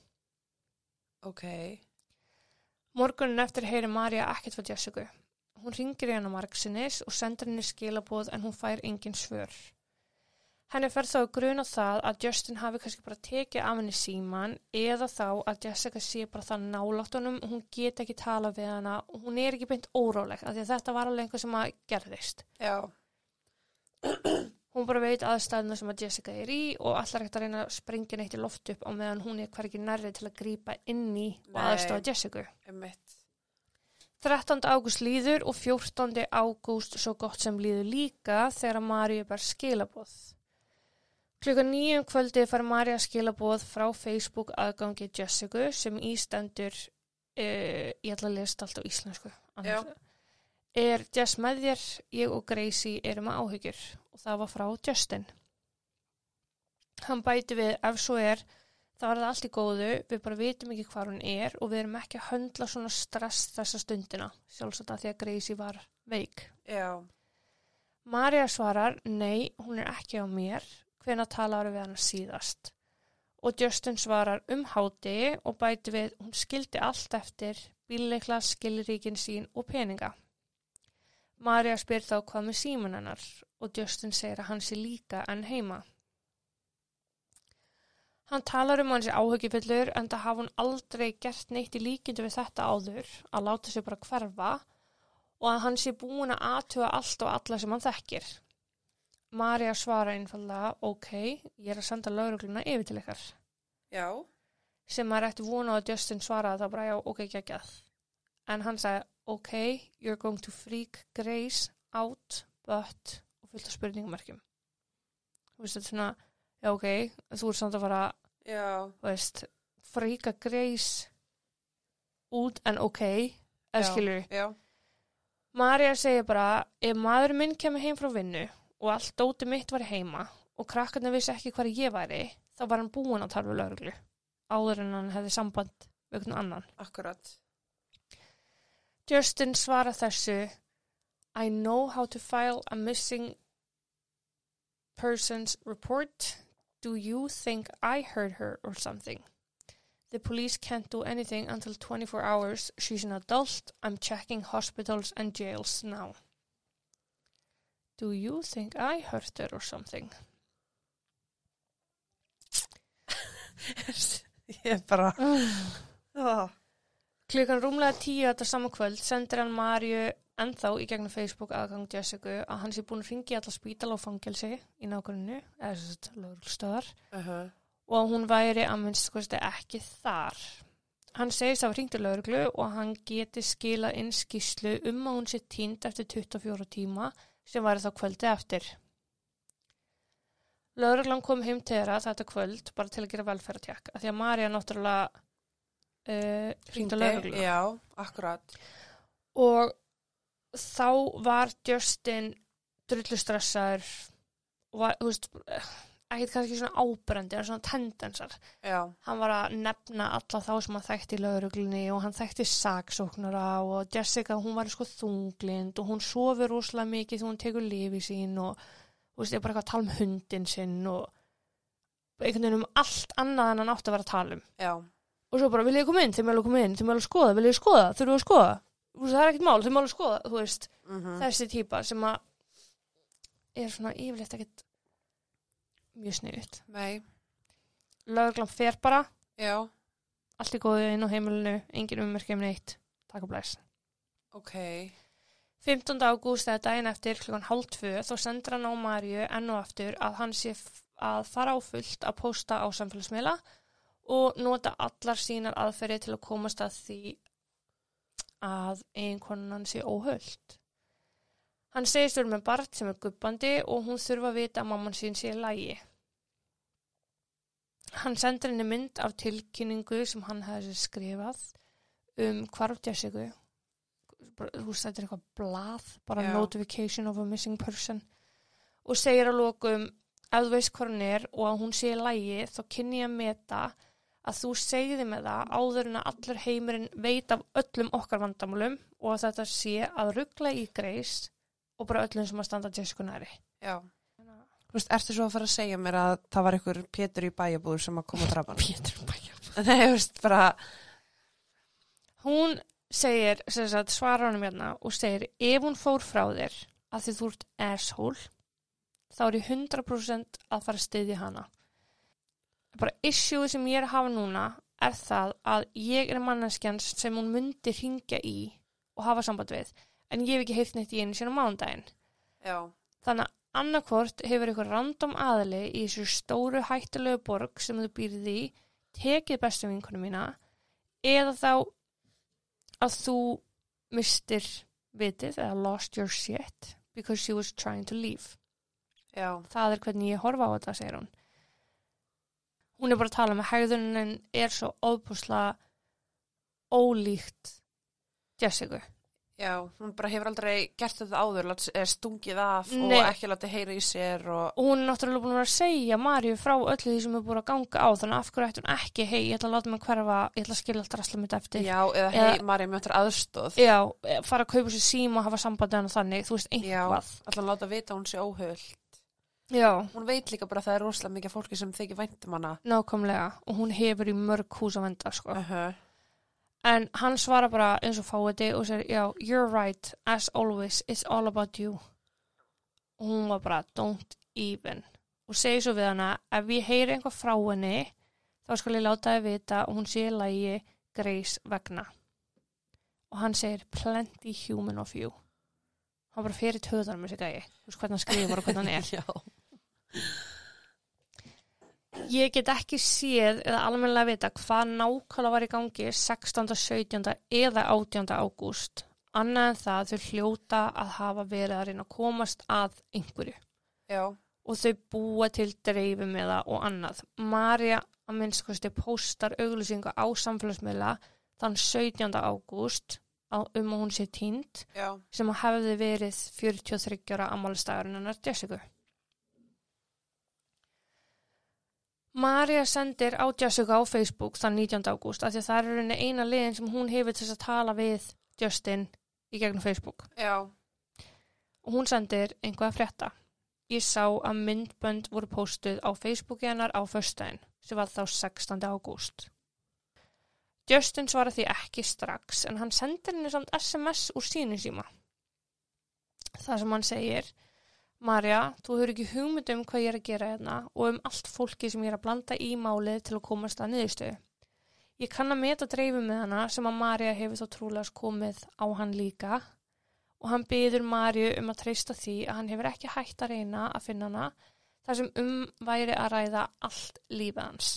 [SPEAKER 2] Ok.
[SPEAKER 1] Morgunin eftir heyri Marja ekkert frá Jessica. Hún ringir í hana margsinnis og sendir henni skilabóð en hún fær engin svör. Henni fer þá að gruna það að Justin hafi kannski bara tekið af henni síman eða þá að Jessica sé bara það nálátt honum og hún get ekki tala við hana og hún er ekki beint óráleg af því að þetta var alveg einhver sem að gerðist.
[SPEAKER 2] Já.
[SPEAKER 1] Hún bara veit aðstæðina sem að Jessica er í og allar ekkert að reyna að springa neitt í loft upp á meðan hún er hvergi nærri til að grípa inn í og
[SPEAKER 2] Nei.
[SPEAKER 1] aðstofa Jessica.
[SPEAKER 2] Emmitt.
[SPEAKER 1] 13. ágúst líður og 14. ágúst svo gott sem líður líka þegar Maríu ber skilaboð. Klukkan nýjum kvöldi fær María skilaboð frá Facebook aðgangi Jessica sem ístendur, uh, ég ætla að lesa allt á íslensku, annars- er Jess með þér, ég og Gracie erum að áhyggjur og það var frá Justin. Hann bæti við ef svo er, það var það allt í góðu, við bara vitum ekki hvar hún er og við erum ekki að höndla svona stress þessa stundina, sjálfsagt að því að Gracie var veik.
[SPEAKER 2] Já.
[SPEAKER 1] Marja svarar, nei, hún er ekki á mér, hvenær talaður við hana síðast? Og Justin svarar um háti og bæti við, hún skildi allt eftir, bílleikla, skilríkin sín og peninga. Marja spyr þá hvað með síman hennar og Justin segir að hann sé líka enn heima. Hann talar um hans áhyggjufullur en það hafa hún aldrei gert neitt í líkindu við þetta áður að láta sig bara hverfa og að hann sé búin að aðtuga allt og alla sem hann þekkir. Marja svara einfallega, ok, ég er að senda laurugluna yfir til ykkar,
[SPEAKER 2] Já.
[SPEAKER 1] sem er eftir vona að Justin svaraði það bara, já, ok, geggjað. En hann sagði, ok, you're going to freak Grace out, but, og fullt af spurningumarkjum. Þú veist, þetta er svona, já, ok, þú ert samt að fara,
[SPEAKER 2] Já.
[SPEAKER 1] þú veist, freaka Grace út en ok, eða
[SPEAKER 2] Já.
[SPEAKER 1] skilur
[SPEAKER 2] Já.
[SPEAKER 1] Marja segir bara, ef maður minn kemur heim frá vinnu og allt dóti mitt var heima og krakkarnir vissi ekki hvar ég væri, þá var hann búin að tala við lögreglu áður en hann hefði samband við einhvern annan.
[SPEAKER 2] Akkurat.
[SPEAKER 1] Justin svarar þessu, I know how to file a missing persons report. Do you think I heard her or something? The police can't do anything until 24 hours. She's an adult. I'm checking hospitals and jails now. Do you think I heard her or something?
[SPEAKER 2] ég er bara... Ah.
[SPEAKER 1] Klukkan rúmlega tíu þetta sama kvöld sendir hann Marju ennþá í gegnum Facebook aðgang Jessica að hann sé búin að ringi allar spítala og fangelsi í nágrunnu, eða þess að lögulstöðar
[SPEAKER 2] Uh -huh.
[SPEAKER 1] og að hún væri að minnst kosti ekki þar. Hann segist að ringti lögreglu og hann geti skila inn skýslu um að hún sé týnd eftir 24 tíma sem væri þá kvöldi eftir. Lögreglan kom heim til þeirra þetta kvöld bara til að gera velferðartjekk af því að Marja náttúrulega uh, ringdi lögreglu
[SPEAKER 2] Já, akkurat.
[SPEAKER 1] og þá var Justin drullu stressaður og var, þú veist, eh, ekkert kannski svona ábrendi, en svona tendensar
[SPEAKER 2] Já.
[SPEAKER 1] hann var að nefna alla þá sem hann þekkti í lauruglunni og hann þekkti saksóknara og Jessica, hún var sko þunglind og hún sofur rosalega mikið þegar hún tekur lifi sín og þú veist, ég er bara eitthvað að tala um hundin sinn og einhvern veginn um allt annað en hann átti að vera að tala um
[SPEAKER 2] Já.
[SPEAKER 1] og svo bara, vil ég koma inn, þið mjög alveg koma inn, þið mjög alveg skoða, vil ég skoða, þurfum við að skoða Þú veist, það er ekkert mál, þið mjög alveg skoða, þú veist
[SPEAKER 2] Mm
[SPEAKER 1] þessi típa sem að er svona yfirleitt ekkert mjög sniðut
[SPEAKER 2] Nei.
[SPEAKER 1] lögreglan fer bara,
[SPEAKER 2] Já.
[SPEAKER 1] allt í góðu inn á heimilinu engin ummerkjum neitt, takk og blæs
[SPEAKER 2] Ok.
[SPEAKER 1] 15. ágúst eða daginn eftir klukkan hálf tvö þá sendur hann á Marju enn og aftur að hann sé f- að fara á fullt að posta á samfélagsmiðla og nota allar sínar aðferði til að komast að því að einkonan sé óhöld. Hann segist verið með barn sem er guppandi og hún þurfa að vita að mamman sín sé í lægi. Hann sendur henni mynd af tilkynningu sem hann hefði skrifað um hvarf Jessica bara, þú veist, þetta er eitthvað blað bara
[SPEAKER 2] Já.
[SPEAKER 1] notification of a missing person og segir að lokum ef þú veist hvað hún er og að hún sé í lægi þá kynni ég að meta að þú segði með það áður en að allur heimurinn veit af öllum okkar vandamálum og að þetta sé að ruggla í greis og bara öllum sem að standa Jessica næri
[SPEAKER 2] Já. Þú veist, ertu svo að fara að segja mér að það var einhver Pétur í bæjabúður sem að koma að drapa hann?
[SPEAKER 1] Pétur Bæjar
[SPEAKER 2] Nei, þú veist, bara,
[SPEAKER 1] hún segir, sem sagt, svarar honum hérna og segir, ef hún fór frá þér að því þú ert asshole þá er ég 100% að fara að styðja hana bara issue sem ég er að hafa núna er það að ég er manneskjans sem hún myndi ringja í og hafa samband við en ég hef ekki heilt neitt í einu sín á mánudaginn
[SPEAKER 2] já,
[SPEAKER 1] Þannig að annarkvort hefur ykkur random aðli í þessu stóru hættulegu borg sem þú býrði í, tekið bestu vinkonu mína, eða þá að þú mistir vitið eða lost your shit because she was trying to leave.
[SPEAKER 2] já,
[SPEAKER 1] Það er hvernig ég horfa á þetta, segir hún. Hún er bara að tala með hægðunin er svo óbúsla ólíkt Jessica.
[SPEAKER 2] já, hún bara hefur aldrei gert þetta áður, lát, eh, stungið af
[SPEAKER 1] Nei.
[SPEAKER 2] og ekki látið heyra í sér og,
[SPEAKER 1] og hún er náttúrulega búin að vera að segja Maríu frá öllu því sem er búin að ganga á þannig að af hverju ætti hún ekki, hei, ég ætla að láta mig hverfa ég ætla að skilja allt rastlum mitt eftir
[SPEAKER 2] já, eða
[SPEAKER 1] Eða-
[SPEAKER 2] hei, Marja, mjög þetta aðstóð.
[SPEAKER 1] Já, eh, fara að kaupa sér síma og hafa sambandi hann þannig, þú veist, einhvað
[SPEAKER 2] Alltaf láta vita að hún sé óhöl.
[SPEAKER 1] Já,
[SPEAKER 2] Hún veit líka bara að það er rosalega mikið af fólki sem þykir væntum hana.
[SPEAKER 1] nákvæmlega og hún hefur í mörg hús að venda, sko
[SPEAKER 2] Uh -huh.
[SPEAKER 1] en hann svarar bara eins og fáiði og segir, já, you're right, as always it's all about you og hún var bara, don't even og segir svo við hana ef ég heyri einhvað frá henni þá skal ég láta þið vita og hún sé í lægi Grace vegna og hann segir plenty human of you hann bara fyrir töðan með sig gæi þú veist hvernig hann skrifur og hvernig hann er
[SPEAKER 2] Já.
[SPEAKER 1] Ég get ekki séð eða almennilega vita hvað nákvæmlega var í gangi 16., 17. eða 18. ágúst. Annað en það að þau hljóta að hafa verið að reyna að komast að einhverju
[SPEAKER 2] Já,
[SPEAKER 1] og þau búa til dreifum eða og annað. Marja að minnskosti póstar auglýsingu á samfélagsmiðla þann 17. ágúst á- um að hún sé týnd
[SPEAKER 2] já,
[SPEAKER 1] sem að hefði verið 43 ára ammálistagurinn hennar Jessica. Maria sendir á Jessica á Facebook þann 19. ágúst af því að það er í rauninni eina liðin sem hún hefur til þess að tala við Justin í gegnum Facebook
[SPEAKER 2] já,
[SPEAKER 1] og hún sendir einhvað að frétta. Ég sá að myndbönd voru póstuð á Facebooki hennar á föstudaginn sem var þá 16. ágúst. Justin svarar því ekki strax en hann sendir henni samt SMS úr sínu síma. Það sem hann segir Marja, þú hefur ekki hugmynd um hvað ég er að gera hérna og um allt fólki sem ég er að blanda í málið til að komast að niðurstöðu. Ég kann að meta dreifu með hana sem að Marja hefur þá trúlega komið á hann líka og hann byður Marju um að treysta því að hann hefur ekki hægt að reyna að finna hana þar sem um væri að ræða allt lífið hans.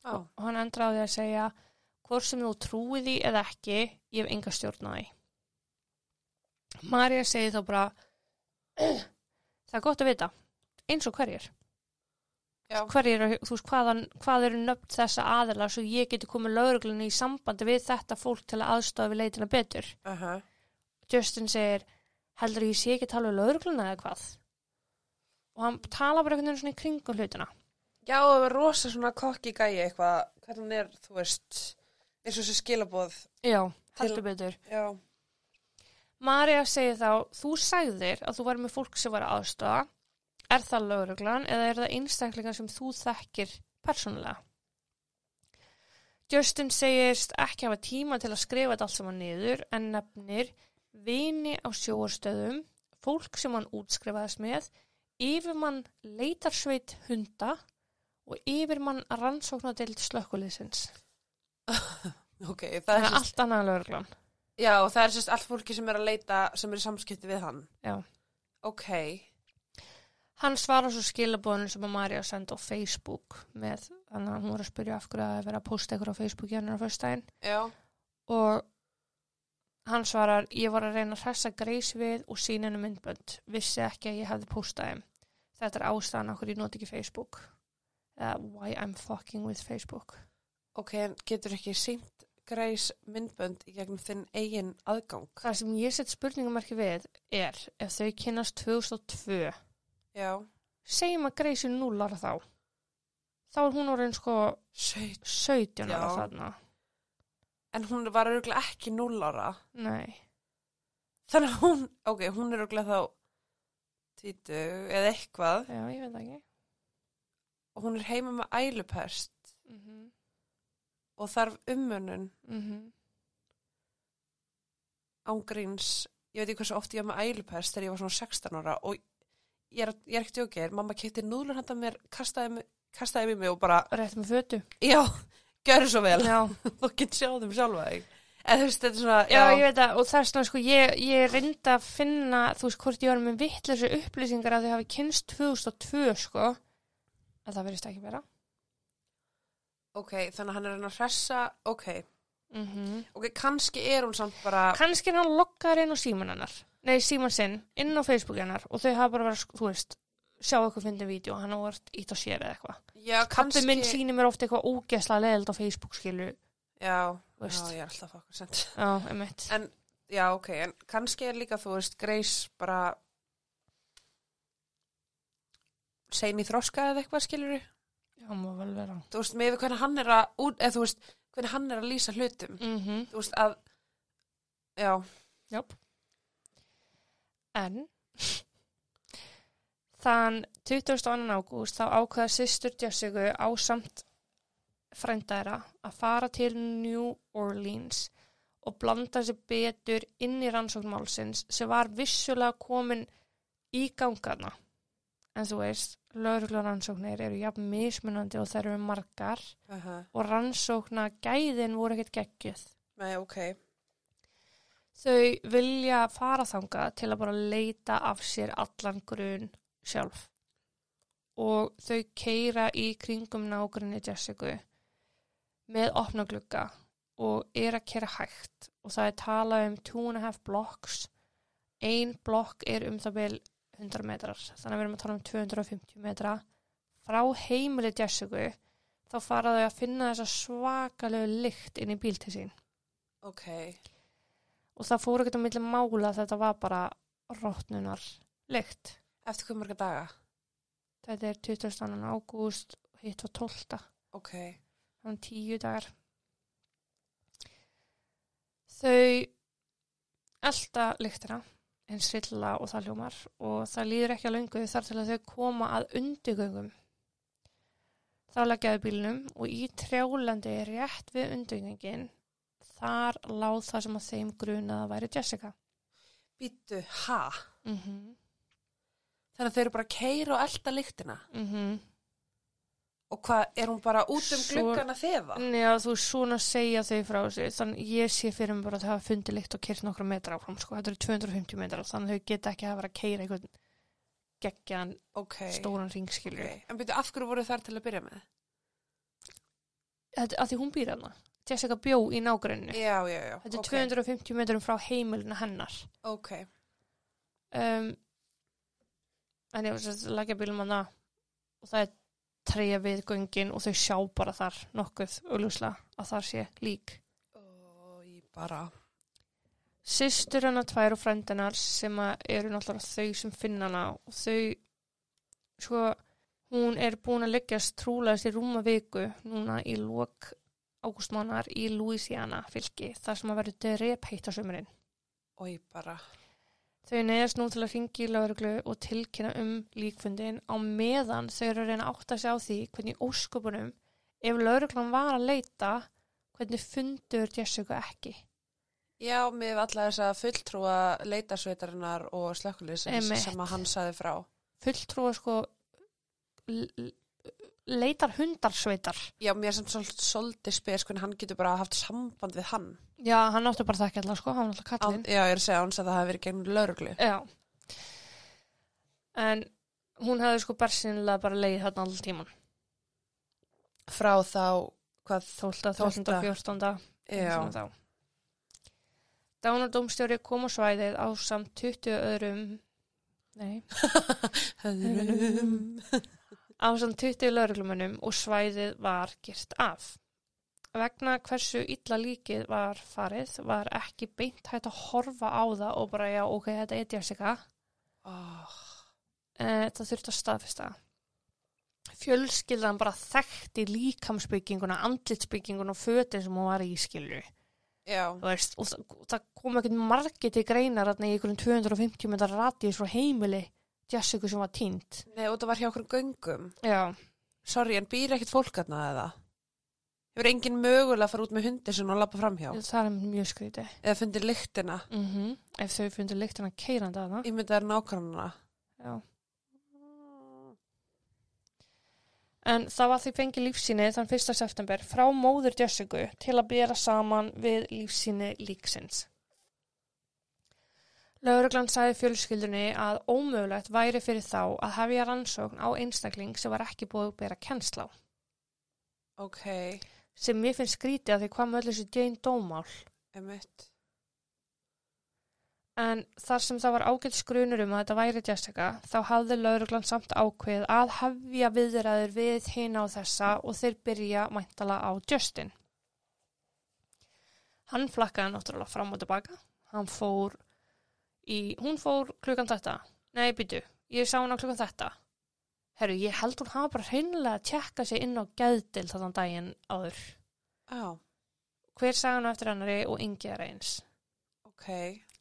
[SPEAKER 2] já,
[SPEAKER 1] Og hann endur á því að segja hvort sem þú trúið því eða ekki, ég hef enga stjórn á því. Marja segir þá bara það er gott að vita, eins og hverjir.
[SPEAKER 2] já,
[SPEAKER 1] hverjir, eru- þú veist, hvaðan, hvað eru nöfn þessa aðila svo ég geti komið lögreglunni í sambandi við þetta fólk til að aðstofa við leitina betur.
[SPEAKER 2] uh -huh.
[SPEAKER 1] Justin segir heldur að ég sé ekki að tala um lögregluna eða hvað og hann tala bara einhvern veginn svona í kringum hlutina
[SPEAKER 2] Já, það var rosa svona kokki gæi eitthvað, hvernig hún er, þú veist, eins og þessi skilabóð.
[SPEAKER 1] já, heldur betur
[SPEAKER 2] Já,
[SPEAKER 1] Marja segir þá, þú sagðir að þú væri með fólk sem var að aðstofa er það lögreglan eða er það einstaklingar sem þú þekkir persónulega Justin segist ekki hafa tíma til að skrifa þetta allt saman niður en nefnir vini á sjóarstöðum fólk sem hann útskrifaðist með yfirmann leitarsveit hunda og yfirmann rannsóknadeild slökkuliðsins
[SPEAKER 2] ok, það er
[SPEAKER 1] þannig að
[SPEAKER 2] sérst,
[SPEAKER 1] allt annað en lögreglan
[SPEAKER 2] já, það er sérst allt fólki sem er að leita, sem er í samskipti við hann.
[SPEAKER 1] Já.
[SPEAKER 2] Ok,
[SPEAKER 1] Hann svarar svo skilabóðinu sem að Marja sendi á Facebook með, þannig að hún var að spyrja af hverju að vera að posta ykkur á Facebook í hennar á föstudaginn
[SPEAKER 2] já,
[SPEAKER 1] og hann svarar, ég var að reyna að hressa greis við og sína henni myndbönd, vissi ekki að ég hefði postað þeim. Þetta er ástæðan okkur ég noti ekki Facebook. Uh, why I'm fucking with Facebook.
[SPEAKER 2] ok, en getur ekki sínt Grace myndbönd í gegnum þinn eigin aðgang.
[SPEAKER 1] Það sem ég sett spurningumarki við er ef þau kynast 2002
[SPEAKER 2] Já.
[SPEAKER 1] segjum að Greysi núlar þá þá er hún orðin sko
[SPEAKER 2] Shit.
[SPEAKER 1] 17 ára
[SPEAKER 2] Já.
[SPEAKER 1] þarna
[SPEAKER 2] En hún var örgulega ekki 0 ára.
[SPEAKER 1] Nei,
[SPEAKER 2] Þannig að hún, ok, hún er örgulega þá títu eða eitthvað.
[SPEAKER 1] já, ég veit það ekki
[SPEAKER 2] Og hún er heima með ælupest
[SPEAKER 1] mm -hmm.
[SPEAKER 2] og þarf umönun
[SPEAKER 1] Mhm.
[SPEAKER 2] ángríns. Ég veit ekki hversu oft ég var með ælupest þegar ég var svona 16 ára og ég er, ég er ekki djókir. Mamma keitti núðlur handa mér, kastaði, mig- kastaði mig og bara,
[SPEAKER 1] Rétt með fötu
[SPEAKER 2] já, gjörðu svo vel.
[SPEAKER 1] já.
[SPEAKER 2] þú getur sjáð um sjálfa þig eða þú veist þetta er svona
[SPEAKER 1] já, ég veit það og þess vegna sko ég, ég reyndi að finna þú veist hvort ég var með vittlesu upplýsingar að þau hafi kynst 2002 sko en það verðist ekki vera
[SPEAKER 2] ok, þannig að hann er að reyna að hressa ok,
[SPEAKER 1] mm -hmm.
[SPEAKER 2] ok, kannski er hún samt bara
[SPEAKER 1] kannski er hann lokkaður inn á síman hennar nei, síman sinn, inn á Facebook hennar og þau hafa bara verið, að, þú veist sjá eitthvað fyndið vídeo, hann hafa vart ít á sér eða eitthvað
[SPEAKER 2] já,
[SPEAKER 1] kappi
[SPEAKER 2] kannski
[SPEAKER 1] minn sýnir mér ofta eitthvað ógesla leðild á Facebook skilu,
[SPEAKER 2] já,
[SPEAKER 1] þú
[SPEAKER 2] já,
[SPEAKER 1] veist
[SPEAKER 2] ég er alltaf okkur sent
[SPEAKER 1] já, emitt
[SPEAKER 2] En- já, ok, en kannski er líka þú veist Grace bara sein í þroska eða eitthvað skilur
[SPEAKER 1] já, má vel vera
[SPEAKER 2] þú veist, með hvernig hann er að út, eða þú veist, hvernig hann er að lýsa hlutum
[SPEAKER 1] mm
[SPEAKER 2] þú veist að já,
[SPEAKER 1] En þann 22. ágúst þá ákveða sýstur Jessica á samt frændæra að fara til New Orleans og blanda sér betur inn í rannsóknmálsins sem var vissulega komin í gangarna. En þú veist, lögreglurannsóknir eru jafn mismunandi og þær eru margar
[SPEAKER 2] uh
[SPEAKER 1] og rannsókna gæðin voru ekkert geggjöð
[SPEAKER 2] nei, ok
[SPEAKER 1] þau vilja fara þangað til að bara leita af sér allan grun sjálf og þau keira í kringum nágrunni Jessica með opna glugga og er að keira hægt og það er talað um two and a half blocks ein blokk er um það vel 100 metrar þannig að við erum að tala um 250 metra frá heimili Jessica þá fara þau að finna þessa svakalegu lykt inn í bíl til sín
[SPEAKER 2] ok,
[SPEAKER 1] og það fór ekkert á milli mála að þetta var bara rótnunar lykt.
[SPEAKER 2] eftir hvað marga daga
[SPEAKER 1] Þetta er 22. ágúst og hitt var 12.
[SPEAKER 2] ok,
[SPEAKER 1] Þannig tíu dagar. Þau elda lyktina en silla og það hljómar og það líður ekki að löngu þar til að þau koma að undirgöngum. Þá leggjaðu bílnum og í trjálandi rétt við undirgöngin þar láð það sem að þeim grunaða væri Jessica.
[SPEAKER 2] býttu, ha?
[SPEAKER 1] Mhm.
[SPEAKER 2] Þannig að þau eru bara að keira og elda lyktina.
[SPEAKER 1] Mm
[SPEAKER 2] Og hvað, er hún bara út um
[SPEAKER 1] Svo- Mm.
[SPEAKER 2] gluggan að þefa?
[SPEAKER 1] Nei, að þú svona segja þau frá þessu þannig ég sé fyrir mig bara að það hafa fundið líkt og kyrt nokkra metra áfram, sko, þetta eru 250 metra þannig að þau geta ekki að vera að keira einhvern geggjan
[SPEAKER 2] Ok.
[SPEAKER 1] stóran ringskilju
[SPEAKER 2] okay. En byrju, af hverju voru þær til að byrja með?
[SPEAKER 1] Þetta að því hún býr hana Jessica bjó í nágrunni
[SPEAKER 2] Já, já, já.
[SPEAKER 1] Þetta er
[SPEAKER 2] ok.
[SPEAKER 1] 250 metrum frá heimilinu hennar
[SPEAKER 2] Ok,
[SPEAKER 1] um, en ég var sérst að leggja bílum hana og það er treyja við göngin og þau sjá bara þar nokkuð augljóslega að þar sé lík
[SPEAKER 2] og ég bara...
[SPEAKER 1] systur hennar tvær og frendinar sem að eru náttúrulega þau sem finna hana og þau sko, hún er búin að leggjast trúlegast í rúma viku núna í lok ágústmánar í Louisiana fylki þar sem að verður drep heitt á sömurinn
[SPEAKER 2] Og ég bara...
[SPEAKER 1] þau neyðast nú til að ringi í lauruglu og tilkynna um líkfundin á meðan þau eru að reyna að átta sig á því hvernig í ósköpunum ef lauruglan var að leita hvernig fundur Jessica ekki
[SPEAKER 2] Já, mér hef alla þess að fulltrúa leitarsveitarinnar og slökkulýsins
[SPEAKER 1] Einmitt.
[SPEAKER 2] sem að hann saði frá.
[SPEAKER 1] fulltrúa sko l- l- leitar hundarsveitar
[SPEAKER 2] Já, mér er samt svol- svolítið spes hvernig hann getur bara haft samband við hann.
[SPEAKER 1] já, hann átti bara það ekki alltaf sko, hann var alltaf
[SPEAKER 2] Á,
[SPEAKER 1] kallinn
[SPEAKER 2] já, ég er að segja, hann sagði að það hafi verið gegnum lauruglu.
[SPEAKER 1] já en hún hefði sko bersinlega bara leið þarna alltaf tíman
[SPEAKER 2] Frá þá, hvað...
[SPEAKER 1] 12. 13.
[SPEAKER 2] Tólfta.
[SPEAKER 1] 14.
[SPEAKER 2] Já,
[SPEAKER 1] svona þá. Dánardómstjóri kom á svæðið á samt 20 öðrum nei
[SPEAKER 2] höðrum.
[SPEAKER 1] á samt 20 lauruglumönnum og svæðið var gert af. vegna hversu illa líkið var farið var ekki beint hægt að horfa á það og bara já, ok, þetta er Jessica
[SPEAKER 2] Oh.
[SPEAKER 1] Eh, það þurfti að staðfesta fjölskyldan bara þekkti líkamsbygginguna, andlitsbygginguna og fötin sem hún var í skilju
[SPEAKER 2] Já,
[SPEAKER 1] Þú veist, og það, það kom ekkert margir til greinar þarna í einhverjum 250 metrar radíus frá heimili Jessica sem var týnd
[SPEAKER 2] nei, og það var hjá okkur göngum.
[SPEAKER 1] já,
[SPEAKER 2] Sorry, en býr ekkert fólk aðna eða? Hefur engin mögulega að fara út með hundir sem hún lappa framhjá?
[SPEAKER 1] það er mjög skrítið
[SPEAKER 2] Eða fundir lyktina?
[SPEAKER 1] mm ef þau fundur lyktina keirandi að það
[SPEAKER 2] Ég myndi að það er nákvæmna.
[SPEAKER 1] já. en það var því fengið lífsýni þann 1. september frá móður Jessica til að bera saman við lífsýni líksins. Lauruglan sagði fjölskyldunni að ómögulegt væri fyrir þá að hefja rannsókn á einstakling sem var ekki búið að bera kennsla á.
[SPEAKER 2] Ok,
[SPEAKER 1] Sem mér finnst skrítið að því hvað með öll þessu Jane Dómál
[SPEAKER 2] emitt.
[SPEAKER 1] En þar sem það var ágætt skrunur um að þetta væri Jessica, þá hafði lauruglan samt ákveð að hefja viðræður við hina og þessa og þeir byrja mæntala á Justin. Hann flakkaði náttúrulega fram og tilbaka. Hann fór í, hún fór klukkan þetta. Nei, býtu, ég sá hann á klukkan þetta. Herru, ég held hún hafa bara hreinlega að tjekka sig inn á gæðdil þarna daginn áður.
[SPEAKER 2] Á,
[SPEAKER 1] Hver sagði hann eftir annari og yngi er eins.
[SPEAKER 2] ok.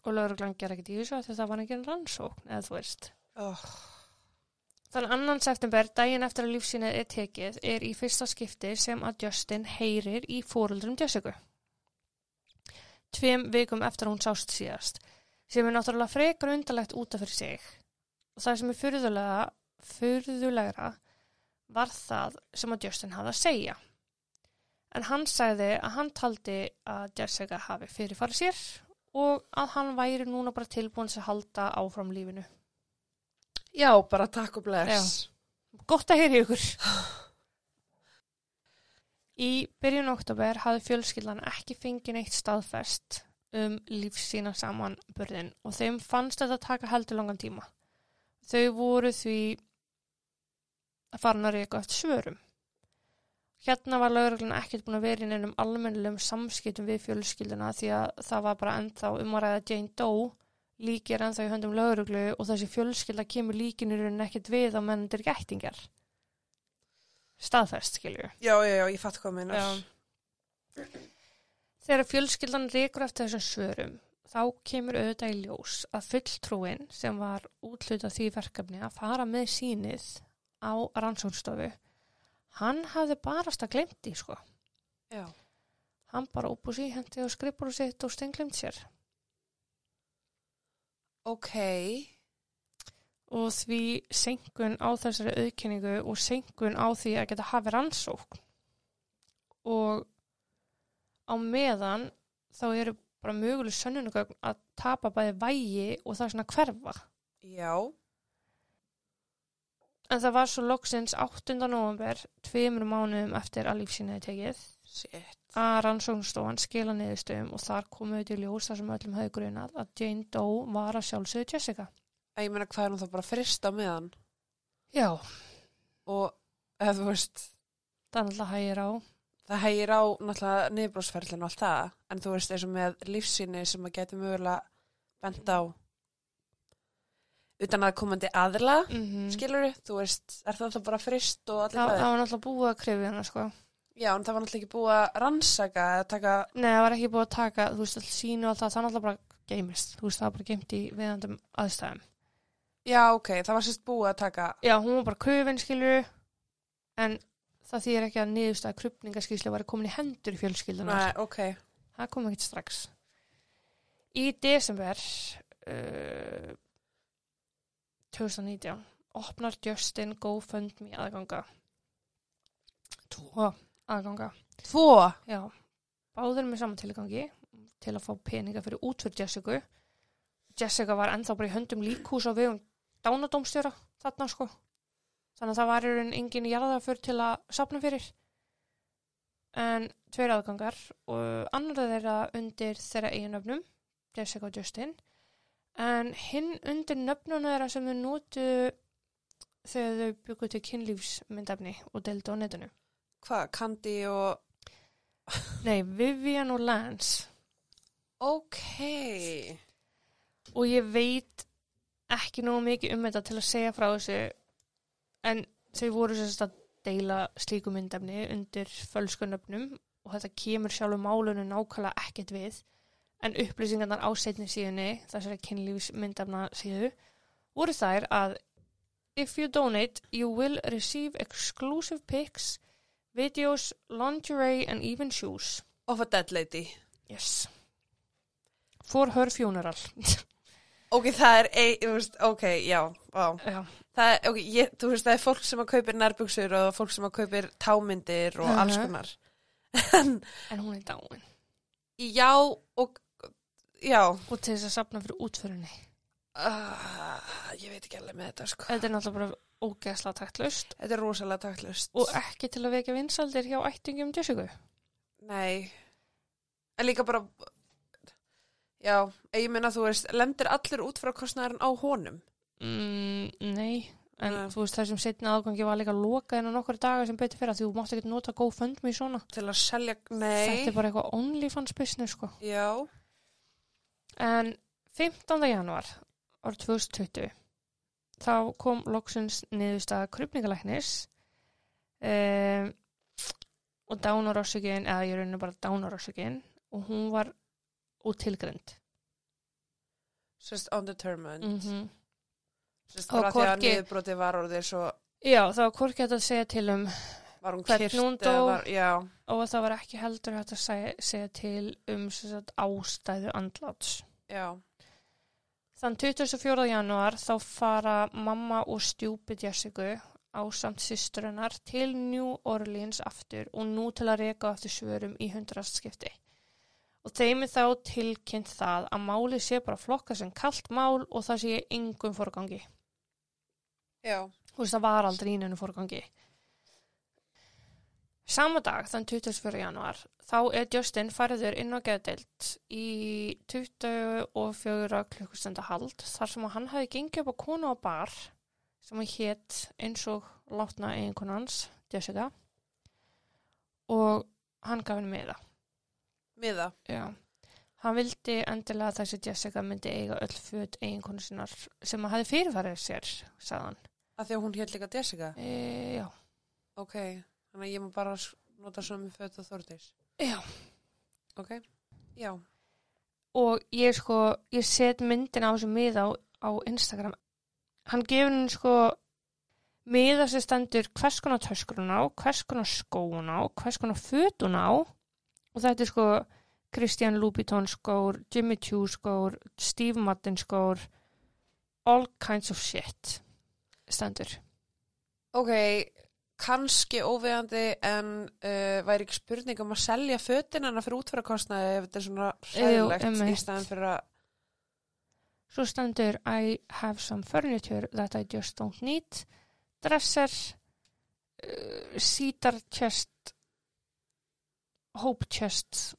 [SPEAKER 1] og lauruglan gera ekkert í þessu af því að það var ekki rannsókn eða þú veist.
[SPEAKER 2] Oh.
[SPEAKER 1] Þann annan september, daginn eftir að lífsýnið er tekið, er í fyrsta skipti sem að Justin heyrir í fóruldrum Jessica. Tveim vikum eftir að hún sást síðast, sem er náttúrulega frekar undarlegt út af fyrir sig. Og það sem er furðulega, furðulegra var það sem að Justin hafði að segja. En hann sagði að hann taldi að Jessica hafi fyrirfarið sér og að hann væri núna bara tilbúin að halda áfram lífinu.
[SPEAKER 2] Já, bara takk og bless.
[SPEAKER 1] Gott að heyra í ykkur. Í byrjun oktober hafði fjölskyldan ekki fengið neitt staðfest um lífsýna samanburðin og þeim fannst þetta taka heldur langan tíma. Þau voru því að farin að reyka eftir svörum. Hérna var lauruglan ekkert búin að vera inn um almennilegum samskiptum við fjölskylduna því að það var bara ennþá um að ræða Jane Doe líkir ennþá í höndum lauruglu og þessi fjölskylda kemur líkinu raunin ekkert við á mennendur gættingar. Staðfest, skilju.
[SPEAKER 2] Já, já, já, ég fatt hvað minnar.
[SPEAKER 1] Þegar fjölskyldan rekur eftir þessum svörum, þá kemur auðvitað í ljós að fulltrúin sem var útlutað því verkefni að fara með sínið á rannsónstofu, hann hafði barast að glemt því, sko.
[SPEAKER 2] Já. já.
[SPEAKER 1] Hann bara upp og sí, hendi á skrippur sitt og stenglemt sér.
[SPEAKER 2] Ok,
[SPEAKER 1] og því senkun á þessari auðkenningu og senkun á því að geta hafi rannsókn og á meðan þá eru bara möguleg sönnunugögn að tapa bæði vægi og það er svona hverfa
[SPEAKER 2] já.
[SPEAKER 1] en það var svo loksins 8. november tveimur mánuðum eftir að lífsýnaði tekið
[SPEAKER 2] Shit.
[SPEAKER 1] að rannsóknstofan skila niðurstöðum og þar komuðu til ljós þar sem öllum höfðu grunað að Jane Doe var að sjálfsögðu Jessica
[SPEAKER 2] Að ég meina hvað er hún þá bara frist á meðan?
[SPEAKER 1] Já,
[SPEAKER 2] Og, eða þú veist,
[SPEAKER 1] það er alltaf hægir á
[SPEAKER 2] það hægir á náttúrulega niðurbrósferðlinn og allt það. En þú veist, eins og með lífsýni sem að geti mögulega bent á utan að komandi aðla,
[SPEAKER 1] mm
[SPEAKER 2] mm. skilur þú veist, er það alltaf bara frist og allir
[SPEAKER 1] Það,
[SPEAKER 2] það?
[SPEAKER 1] það var náttúrulega búið að krifja hana sko.
[SPEAKER 2] Já, en það var náttúrulega ekki búið að rannsaka eða taka,
[SPEAKER 1] Nei, það var ekki búið að taka, þú veist, all sínu og allt það, það náttúrulega bara geimist, þú veist, það var bara geimt í viðandum aðstæðum.
[SPEAKER 2] já, ok, það var sérst búið að taka,
[SPEAKER 1] Já, hún var bara kröfin, skilur, en það þýðir ekki að niðurstaða krupningaskýslu var komin í hendur fjölskyldunar.
[SPEAKER 2] nei, ok,
[SPEAKER 1] Það kom ekkert strax. Í desember uh, 2019 opnar Justin GoFundMe aðganga. Tvo aðganga.
[SPEAKER 2] tvo,
[SPEAKER 1] Já, báður með saman tilgangi til að fá peninga fyrir útfyrir Jessica. Jessica var ennþá bara í höndum líkhús á vegum dánadómstjóra þarna sko. Þannig að það var í raun engin jarðaför til að sapna fyrir. En tveir aðgangar og annar þeirra undir þeirra eiginöfnum, Jessica og Justin. En hinn undir nöfnuna þeirra sem þau notu þegar þau byggu til kynlífsmyndafni og deildu á netinu.
[SPEAKER 2] hvað, kandi og
[SPEAKER 1] Nei, Vivian og Lance
[SPEAKER 2] Ok.
[SPEAKER 1] og ég veit ekki nógu mikið um þetta til að segja frá þessu en þau voru sérst að deila slíku myndefni undir fölskunöfnum og þetta kemur sjálfur málunum nákvæmlega ekkert við en upplýsingarnar á setni síðunni þessari kynlífs myndefna síðu voru þær að If you donate, you will receive exclusive pics, videos, lingerie and even shoes.
[SPEAKER 2] Of a dead lady.
[SPEAKER 1] Yes. For her funeral.
[SPEAKER 2] Ok, það er, ein, þú veist, ok, já, vá.
[SPEAKER 1] Já.
[SPEAKER 2] Það er, ok, ég, þú veist, það er fólk sem að kaupir nærbuksur og fólk sem að kaupir támyndir og alls
[SPEAKER 1] Mhm.
[SPEAKER 2] konar.
[SPEAKER 1] En hún er dáin.
[SPEAKER 2] Já, og, já,
[SPEAKER 1] og til þess að sapna fyrir útförinni
[SPEAKER 2] uh, ég veit ekki alveg með þetta, sko.
[SPEAKER 1] þetta er náttúrulega bara ógeðslega taktlust
[SPEAKER 2] Þetta er rosalega taktlust.
[SPEAKER 1] og e- ekki til að vekja vinsaldir hjá ættingum Jessica
[SPEAKER 2] Nei. En líka bara, já, ég meina, þú veist, lendir allur út frá kostnæðarinn á honum.
[SPEAKER 1] mm, nei en
[SPEAKER 2] Nei.
[SPEAKER 1] þú veist þessum setna aðgangi var líka lokað innan okkur daga sem betur fyrir að því þú mátt ekki nota GoFundMe svona
[SPEAKER 2] Til að selja,
[SPEAKER 1] þetta
[SPEAKER 2] nei,
[SPEAKER 1] er bara eitthvað OnlyFans business sko
[SPEAKER 2] já,
[SPEAKER 1] en 15. januar árið 2020 þá kom loksins niðurstaða krupningalæknis um, og dánarossökin eða ég rauninu bara dánarossökin og hún var útilgrend
[SPEAKER 2] sérst undetermined.
[SPEAKER 1] mm
[SPEAKER 2] Sérst
[SPEAKER 1] Og
[SPEAKER 2] bara því að
[SPEAKER 1] hvorki-
[SPEAKER 2] niðurbroti var orðið svo,
[SPEAKER 1] já þá var hvorki hægt að segja til um
[SPEAKER 2] var hún
[SPEAKER 1] Hvernig
[SPEAKER 2] kyrkt
[SPEAKER 1] hún
[SPEAKER 2] eða
[SPEAKER 1] dó.
[SPEAKER 2] Var, já,
[SPEAKER 1] og það var ekki heldur hægt að segja, segja til um sem sagt, ástæðu andláts
[SPEAKER 2] já.
[SPEAKER 1] Þann 24. janúar þá fara mamma og stjúpi Jessica á samt sýsturinnar til New Orleans aftur og nú til að reka aftur svörum í hundrastskipti. Og þeim er þá tilkynnt það að máli sé bara flokka sem kalt mál og það sé í engum forgangi.
[SPEAKER 2] Já,
[SPEAKER 1] Þú veist, það var aldrei í neinu forgangi. Sama dag, þann 24. januar, þá er Justin fariður inn á geðdeild í 24 klukkustenda hald þar sem að hann hafi gengið upp á konu á bar sem hann hétt eins og látna eiginkonu hans, Jessica og hann gaf henni meða.
[SPEAKER 2] miða.
[SPEAKER 1] Já. Hann vildi endilega að þessi Jessica myndi eiga öll föt eiginkonu sinnar sem að hafi fyrirfarið sér, sagði hann.
[SPEAKER 2] Af því að hún hétt líka Jessica.
[SPEAKER 1] E, já.
[SPEAKER 2] Ok, þannig að ég má bara s- nota sömu föt og Þórdís.
[SPEAKER 1] Já.
[SPEAKER 2] Ok, já.
[SPEAKER 1] og ég sko, ég set myndin á þessu miða á, á Instagram hann gefur henni sko miða sem stendur hvers konar töskur hún á, hvers konar skó hún á hvers konar föt hún á og þetta er sko Christian Louboutin skór, Jimmy Choo skór Steve Madden skór all kinds of shit stendur
[SPEAKER 2] Ok, kannski óvegandi en uh, væri ekki spurning um að selja fötin hennar fyrir útfærakostnaði ef þetta er svona hræðilegt í
[SPEAKER 1] einmitt.
[SPEAKER 2] staðan fyrir að...
[SPEAKER 1] Svo stendur I have some furniture that I just don't need. Dresser, uh, cedar chest, hope chest.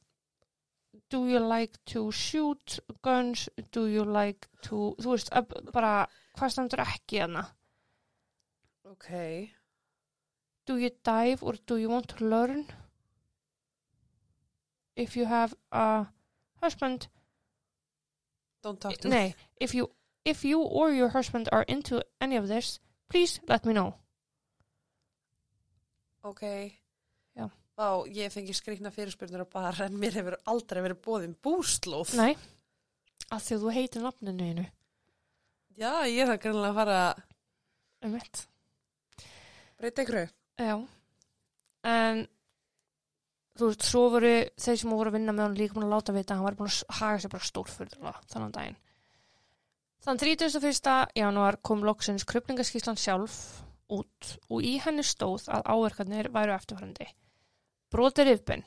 [SPEAKER 1] Do you like to shoot guns? Do you like to... Þú veist, ab- bara hvað stendur ekki hérna?
[SPEAKER 2] Ok,
[SPEAKER 1] Do you dive or do you want to learn? If you have a husband,
[SPEAKER 2] don't talk to me.
[SPEAKER 1] Nei, if you, if you or your husband are into any of this, please let me know.
[SPEAKER 2] Ok.
[SPEAKER 1] Já.
[SPEAKER 2] Vá, ég fengi skrikna fyrirspurnir á bara en mér hefur aldrei verið bóðin búslóð.
[SPEAKER 1] Nei, að því að þú heitir nafninu einu.
[SPEAKER 2] Já, ég þarf greinlega að fara að
[SPEAKER 1] Um mitt.
[SPEAKER 2] breyta ykkur.
[SPEAKER 1] Já. En, þú veist, svo voru þeir sem voru að vinna með hann líka búin að láta vita að hann var búin að s- haga sér bara stórfyrðulega þannan daginn. Þann 31. januar kom loksins krupningaskíslan sjálf út og í henni stóð að áverkarnir væru eftirfarandi. Brotir yfbin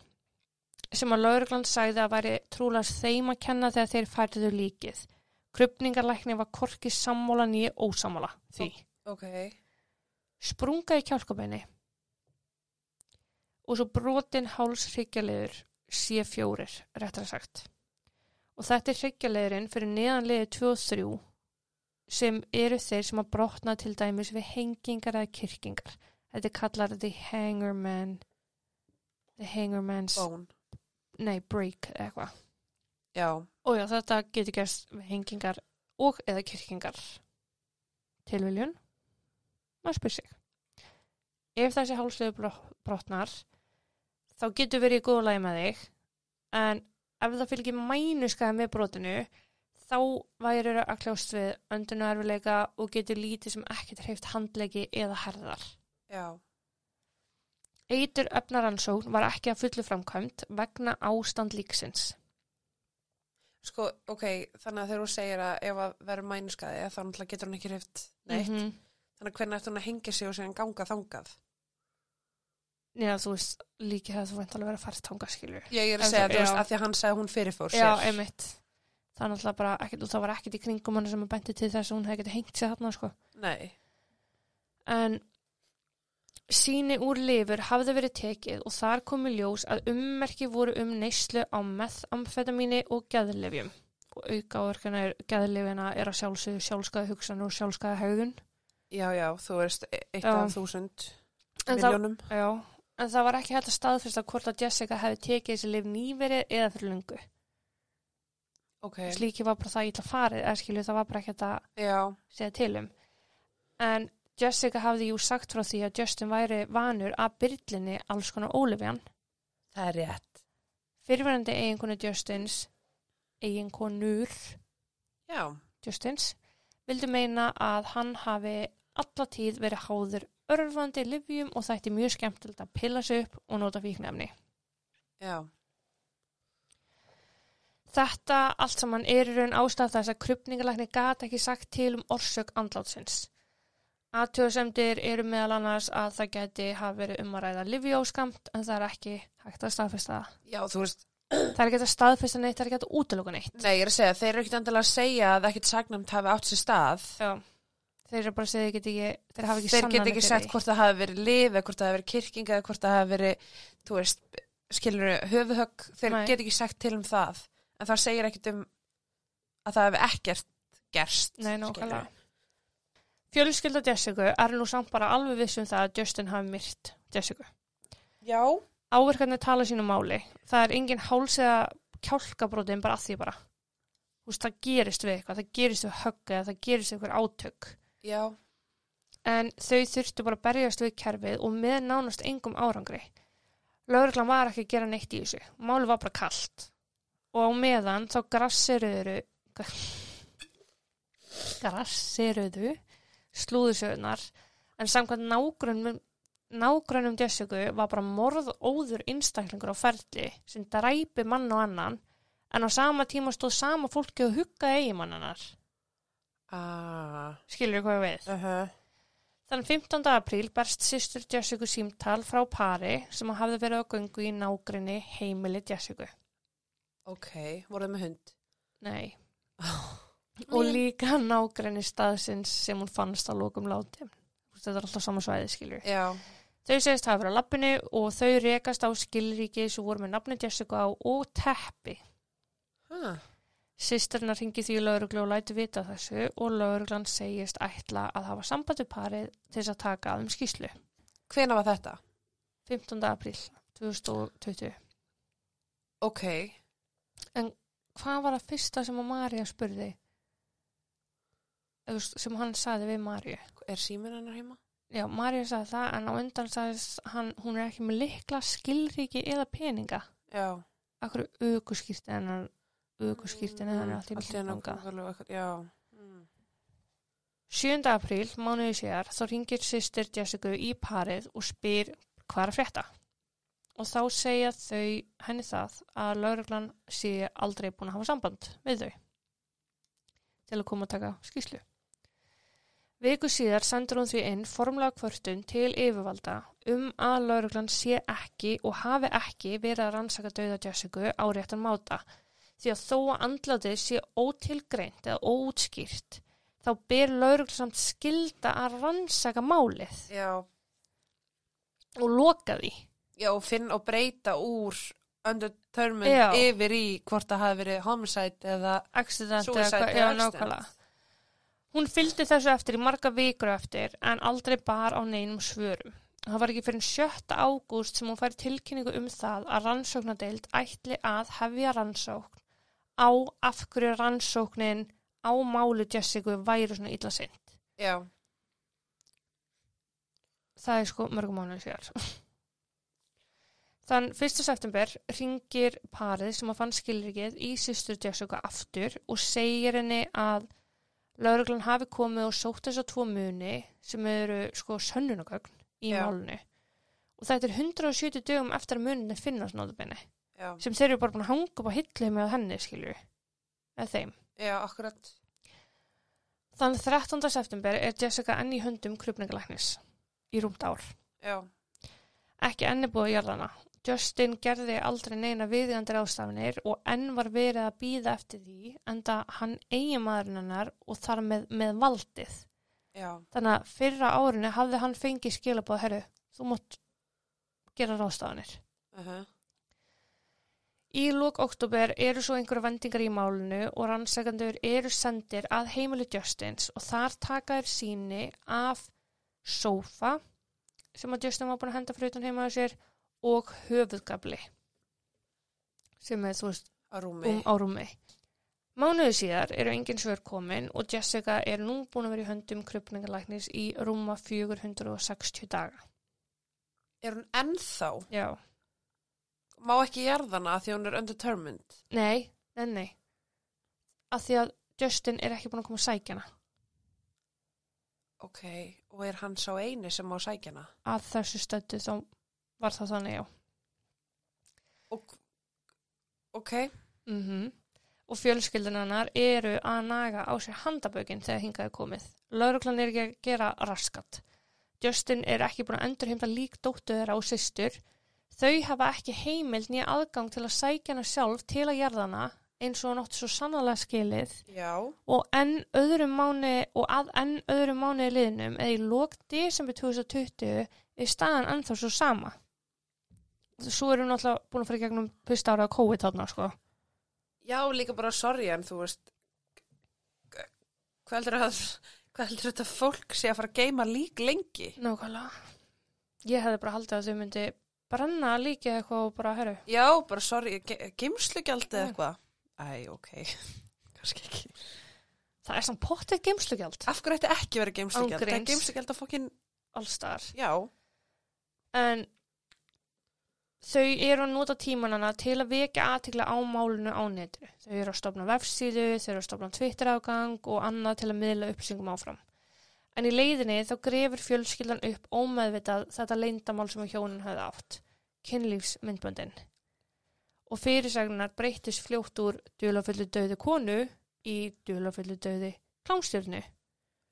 [SPEAKER 1] sem að lauruglan sagði að væri trúlega þeim að kenna þegar þeir færðu líkið. Krupningarlækni var korki sammála nýja ósammála því
[SPEAKER 2] Ok,
[SPEAKER 1] sprunga í kjálkabeini og svo brotin háls hryggjarliður C4 réttar sagt og þetta er hryggjarliðurinn fyrir neðanliði 2 og 3 sem eru þeir sem að brotna til dæmis við hengingar eða kyrkingar þetta kallar the hangerman The Hanger Man's,
[SPEAKER 2] bón
[SPEAKER 1] nei, Break eða eitthvað.
[SPEAKER 2] já,
[SPEAKER 1] Og já, þetta getur gerst við hengingar og eða kyrkingar. Tilviljun. Maður spyr sig. Ef þessi hálsliðu brotnar, þá getur verið í góðu lagi með þig. En ef það fylgir mænuskaði með brotinu, þá væri að kljást við öndunarfileika og getur lítið sem ekkert hreift handleiki eða herðar.
[SPEAKER 2] já,
[SPEAKER 1] Eitur efnaransókn var ekki að fullu framkvæmt vegna ástand líksins.
[SPEAKER 2] sko, ok þannig að þegar hún segir að ef að verður mænuskaði þá náttúrulega getur hún ekki hreift neitt
[SPEAKER 1] -hmm.
[SPEAKER 2] þannig að hvernig eftir hún að hengja sig og segja ganga þangað
[SPEAKER 1] Já, þú veist, líki það þú vænt alveg að vera fært þanga, skilur.
[SPEAKER 2] ég er
[SPEAKER 1] En
[SPEAKER 2] að segja,
[SPEAKER 1] það-
[SPEAKER 2] þú veist,
[SPEAKER 1] já.
[SPEAKER 2] að því að hann sagði að hún fyrirfór
[SPEAKER 1] Já,
[SPEAKER 2] sér
[SPEAKER 1] einmitt. Það er náttúrulega bara ekkert, og það var ekkert í kringum hann sem að benti til þess að hún hefði getið hengt sér þarna, sko.
[SPEAKER 2] nei,
[SPEAKER 1] En síni úr lifur hafði verið tekið og þar komu ljós að ummerki voru um neyslu á methamfetamíni og geðlifjum. Og aukaverkana er geðlifjana er að sjálfsögðu sjálfskaða hugsanur og sjálfskaða hegðun.
[SPEAKER 2] já, já, þú veist eitt
[SPEAKER 1] Já.
[SPEAKER 2] af þúsund
[SPEAKER 1] En það,
[SPEAKER 2] miljónum
[SPEAKER 1] já, en það var ekki hægt að staðfesta hvort að Jessica hefði tekið þessi lif nýverið eða fyrir lungu.
[SPEAKER 2] ok,
[SPEAKER 1] slíki var bara það ítla farið eða skilju það var bara ekkert að
[SPEAKER 2] já,
[SPEAKER 1] segja til um en Jessica hafði jú sagt frá því að Justin væri vanur að byrlinni alls konar Olivjan
[SPEAKER 2] það er rétt
[SPEAKER 1] fyrirverandi eiginkonu Justins eiginkonur
[SPEAKER 2] já,
[SPEAKER 1] Justins vildu meina að hann hafi alla tíð verið háður örfandi livjum og þætti mjög skemmtilegt að pilla sig upp og nota fíknefni
[SPEAKER 2] já,
[SPEAKER 1] Þetta allt saman er í raun ástæð þess að krupningalækni gat ekki sagt til um orsök andlátsins. Aðtjóðsemdir eru meðal annars að það geti hafa verið um að ræða livjóskamt en það er ekki hægt að staðfesta það.
[SPEAKER 2] já, þú veist
[SPEAKER 1] Það er ekki hægt að staðfesta neitt, það er ekki hægt að útiloka neitt.
[SPEAKER 2] nei, ég er að segja, þeir eru ekkit endilega að segja að ekkit sagnamt hafi átt sér stað
[SPEAKER 1] Já. Þeir eru bara að segja þeir geti ekki, þeir hafa ekki
[SPEAKER 2] þeir geta ekki
[SPEAKER 1] fyrir
[SPEAKER 2] sagt
[SPEAKER 1] því.
[SPEAKER 2] hvort það hafi verið lif eða hvort það hafi verið kyrking eða hvort það hafi verið, þú veist, skilur höfuhögg, þeir
[SPEAKER 1] Nei.
[SPEAKER 2] geta ekki sagt til um það en það segir ekkit um að það hafi ekkert gerst
[SPEAKER 1] Nei,
[SPEAKER 2] skilurðu.
[SPEAKER 1] nákvæmlega. Fjölskylda Jessica er nú samt bara alveg vissum það að Justin hafi myrt Jessica.
[SPEAKER 2] já,
[SPEAKER 1] áverkarnir tala sínu máli það er engin háls eða kjálkabrotin bara að því bara Þú veist, það gerist við eitthvað, það gerist við högg eða það gerist við eitthvað átök
[SPEAKER 2] já,
[SPEAKER 1] en þau þurftu bara að berjast við kerfið og með nánast engum árangri lögreglan var ekki að gera neitt í þessu máli var bara kalt og á meðan þá grassiruðu grassiruðu slúðusöðunar en samkvæmt nágrunum nágrunum Jessica var bara morð óður einstaklingur á ferli sem dræpi mann og annan en á sama tíma stóð sama fólki og huggaði eigimannanar
[SPEAKER 2] ah,
[SPEAKER 1] skilur hvað ég á við
[SPEAKER 2] uh -huh.
[SPEAKER 1] Þann 15. apríl berst sýstur Jessica símtal frá pari sem hafði verið á göngu í nágrinni heimili Jessica.
[SPEAKER 2] ok, voruð með hund
[SPEAKER 1] Nei. Og líka nágrinni staðsins sem hún fannst að lokum láti. Þetta er alltaf sama svæði, skilur.
[SPEAKER 2] já,
[SPEAKER 1] Þau segist hafa verið á lappinu og þau rekast á skilríki sem voru með nafni Jessica á og teppi.
[SPEAKER 2] huh.
[SPEAKER 1] Sýsturna ringi því lauruglu og læti vita af þessu og lauruglan segist ætla að hafa samband við parið til þess að taka að um skýslu.
[SPEAKER 2] hvena var þetta?
[SPEAKER 1] 15. apríl 2020.
[SPEAKER 2] ok,
[SPEAKER 1] hvað var það fyrsta sem að Marja spurði Eða, þú veist, sem hann saði við Marju
[SPEAKER 2] er síminn hennar heima?
[SPEAKER 1] já, Marja saði það en á undan saði hann, hún er ekki með likla skilríki eða peninga
[SPEAKER 2] já,
[SPEAKER 1] akkur aukuskýrtin hennar aukuskýrtin hennar er Mm, allt í
[SPEAKER 2] Allt í einu
[SPEAKER 1] bílfanga
[SPEAKER 2] kónguló eitthvað, já Mm.
[SPEAKER 1] 7. apríl, mánuði séðar, þá ringir sýstir Jessica í parið og spyr hvað er að frétta. Og þá segja þau henni það að lauruglan sé aldrei búin að hafa samband við þau til að koma að taka skýslu. Viku síðar sendur hún því inn formlega kvörtun til yfirvalda um að lauruglan sé ekki og hafi ekki verið að rannsaka dauða Jessica á réttan máta því að þó að andlatið sé ótilgreint eða óútskýrt þá ber laurugl samt skilda að rannsaka málið
[SPEAKER 2] já,
[SPEAKER 1] og loka því.
[SPEAKER 2] já, og finn og breyta úr undertermined
[SPEAKER 1] Já.
[SPEAKER 2] yfir í hvort það hafi verið homicide eða
[SPEAKER 1] Accident eða
[SPEAKER 2] Suicide
[SPEAKER 1] eitthvað,
[SPEAKER 2] eða
[SPEAKER 1] já,
[SPEAKER 2] accident.
[SPEAKER 1] nákvæmlega. Hún fylgdi þessu eftir í marga vikur eftir en aldrei bar á neinum svörum. og það var ekki fyrir 7. ágúst sem hún fær tilkynningu um það að rannsóknadeild ætli að hefja rannsókn á af hverju rannsóknin á málu Jessica væri svona illa sinn.
[SPEAKER 2] Já.
[SPEAKER 1] Það er sko mörgum mánuðið síðar. Þann 1. september ringir parið sem að fann skilrikið í sýstur Jessica aftur og segir henni að lauruglan hafi komið og sótt þess að tvo muni sem eru sko sönnunagögn í
[SPEAKER 2] Já.
[SPEAKER 1] málunni. Og þetta er 170 dögum eftir að muninni finnast nóðubenni
[SPEAKER 2] Já.
[SPEAKER 1] sem þeir eru bara búin að hanga upp á hillu með henni skilur eða þeim.
[SPEAKER 2] Já, akkurat.
[SPEAKER 1] Þann 13. september er Jessica enn í höndum krupningalæknis í rúmt ár.
[SPEAKER 2] Já.
[SPEAKER 1] ekki enni búið að gera hana. Justin gerði aldrei neina viðigandi ráðstafinir og enn var verið að býða eftir því enda hann eigi maðurinn hennar og þar með, með valdið.
[SPEAKER 2] Já.
[SPEAKER 1] Þannig að fyrra árinu hafði hann fengið skilabóð, herru, þú mátt gera ráðstafinir.
[SPEAKER 2] Uh -huh.
[SPEAKER 1] Í lók oktober eru svo einhverju vendingar í málinu og rannsakandur eru sendir að heimili Justins og þar taka þér síni af sófa sem að Justin var búin að henda fyrir utan heima á sér og höfuðgabli sem er þú veist
[SPEAKER 2] Að rúmi.
[SPEAKER 1] um árumi. Mánuðu síðar eru engin svör komin og Jessica er nú búin að vera í höndum krupningalæknis í rúma 460 daga.
[SPEAKER 2] Er hún ennþá?
[SPEAKER 1] Já.
[SPEAKER 2] Má ekki jarðana því hún er undetermined?
[SPEAKER 1] Nei, nei, nei. Af því að Justin er ekki búin að koma að sækja hana.
[SPEAKER 2] Ok. Og er hann sá eini sem má sækja hana?
[SPEAKER 1] að þessu stöndu þá var það þannig já.
[SPEAKER 2] Og... Ok.
[SPEAKER 1] Mm Og fjölskyldun hennar eru að naga á sér handabökin þegar hingaði komið. Lauruglan er ekki að gera raskat. Justin er ekki búin að endurheimta lík dóttu þeirra og systur. Þau hafa ekki heimild nýja aðgang til að sækja hana sjálf til að jarðana eins og hann átti svo sannlega skilið
[SPEAKER 2] Já.
[SPEAKER 1] og enn öðrum mánu og að enn öðrum mánu liðnum eða í lók desember 2020 er staðan ennþá svo sama svo erum við náttúrulega búin að fara í gegnum fyrsta ára að COVID þarna sko
[SPEAKER 2] Já, líka bara sorry en þú veist g- hvað heldur að hvað heldur þetta fólk sé að fara að geima lík lengi?
[SPEAKER 1] Nákvæmlega Ég hefði bara haldið að þau myndi brenna líka eitthvað og bara, herru,
[SPEAKER 2] Já, bara sorry, ge geimslugjald eða
[SPEAKER 1] Mm.
[SPEAKER 2] eitthvað? Æ, ok, kannski ekki.
[SPEAKER 1] það er samt pottið geimslugjald
[SPEAKER 2] Af hverju ætti ekki verið geimslugjald? Það er
[SPEAKER 1] Ángreins.
[SPEAKER 2] geimslugjald að fokkin,
[SPEAKER 1] allstar
[SPEAKER 2] já,
[SPEAKER 1] en þau eru að nota tímanana til að vekja aðtikla á málinu á netu. Þau eru að stopna vefsíðu, þau eru að stopna Twitter-afgang og annað til að miðla upplýsingum áfram. En í leiðinni þá grefur fjölskyldan upp ómeðvitað þetta leyndamál sem að hjónin hefði átt, kynlífsmyndböndin. Og fyrirsagnar breyttist fljótt úr duðlafullu döðu konu í duðlafullu döðu klámstjörnu.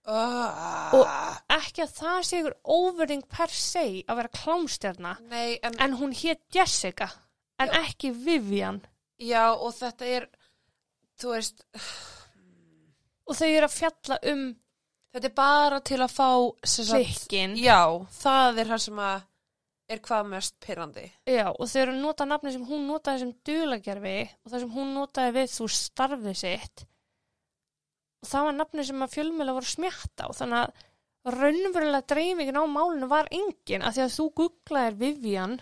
[SPEAKER 2] uh,
[SPEAKER 1] Og- Ekki að það sé ykkur óverðing per se að vera klámstjörna,
[SPEAKER 2] nei, en,
[SPEAKER 1] En hún hétt Jessica, en ekki Vivian.
[SPEAKER 2] já, og þetta er, þú veist,
[SPEAKER 1] Og þau eru að fjalla um
[SPEAKER 2] þetta er bara til að fá, sem sagt,
[SPEAKER 1] klikkin.
[SPEAKER 2] já, það er það sem að er hvað mest pyrrandi.
[SPEAKER 1] Já, og þau eru að nota nafni sem hún notaði sem dulagerfi og það sem hún notaði við þú starfið sitt. Og það var nafni sem að fjölmjöla voru smjatt á, þannig að raunverulega dreifingin á málinu var engin að því að þú googlaðir Vivian,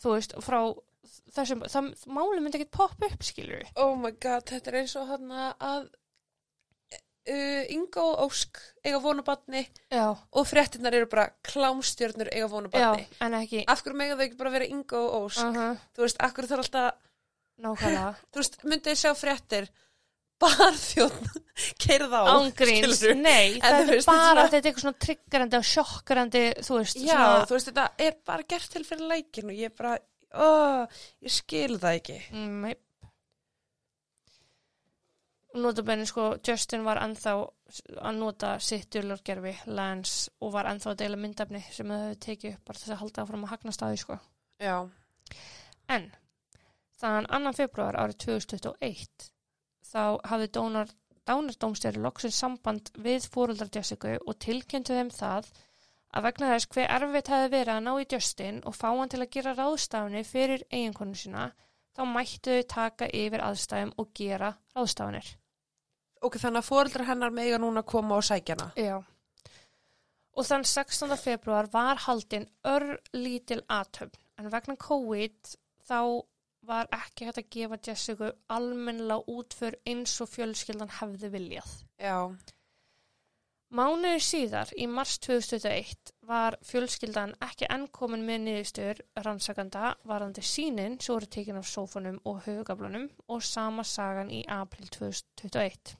[SPEAKER 1] þú veist, frá þessum, það, málinu myndi ekki poppa upp, skilur við.
[SPEAKER 2] Oh my god, þetta er eins og hann að uh, Ingo og Ósk eiga vonabatni
[SPEAKER 1] Já,
[SPEAKER 2] og fréttinnar eru bara klámstjörnur eiga
[SPEAKER 1] já,
[SPEAKER 2] vonabatni.
[SPEAKER 1] en ekki.
[SPEAKER 2] Af hverju mega þau ekki bara vera Ingo og Ósk?
[SPEAKER 1] Uh
[SPEAKER 2] Þú veist, af hverju þarf alltaf,
[SPEAKER 1] Nákvæmlega.
[SPEAKER 2] þú veist, myndið þið sjá fréttir, barþjóðn, keirð á.
[SPEAKER 1] ángríns,
[SPEAKER 2] skilurðu?
[SPEAKER 1] nei,
[SPEAKER 2] En
[SPEAKER 1] það
[SPEAKER 2] þú
[SPEAKER 1] er
[SPEAKER 2] veist,
[SPEAKER 1] bara
[SPEAKER 2] þetta
[SPEAKER 1] að þetta er eitthvað svona triggerandi og sjokkrandi, þú veist,
[SPEAKER 2] Já,
[SPEAKER 1] svona
[SPEAKER 2] þú veist, þetta er bara gert til fyrir lækin og ég bara, ó, ég skil það ekki.
[SPEAKER 1] mm, Notabenni sko, Justin var ennþá að nota sitt dullargerfi, Lance og var ennþá að deila myndafni sem þau hefur tekið upp bara til þess að halda áfram að hagnast á því sko
[SPEAKER 2] Já,
[SPEAKER 1] En þann 2. februar árið 2021 þá hafði dónar, dánardómstjari loksin samband við fóruldar Jessica og tilkynntu þeim það að vegna þess hver erfitt hefði verið að ná í Justin og fá hann til að gera ráðstafni fyrir eiginkonu sína þá mættu þau taka yfir aðstæðum og gera ráðstafanir.
[SPEAKER 2] ok, þannig að fóreldrar hennar mega núna koma og sækja hana.
[SPEAKER 1] Já. og þann 16. februar var haldin örlítil aðtöfn en vegna COVID þá var ekki hægt að gefa Jessica almennlega útför eins og fjölskyldan hefði viljað.
[SPEAKER 2] Já,
[SPEAKER 1] Mánuði síðar í mars 2021 var fjölskyldan ekki enn komin með niðurstöður rannsakanda varandi sínin sem voru tekin af sófunum og hugablanum og sama sagan í april 2021.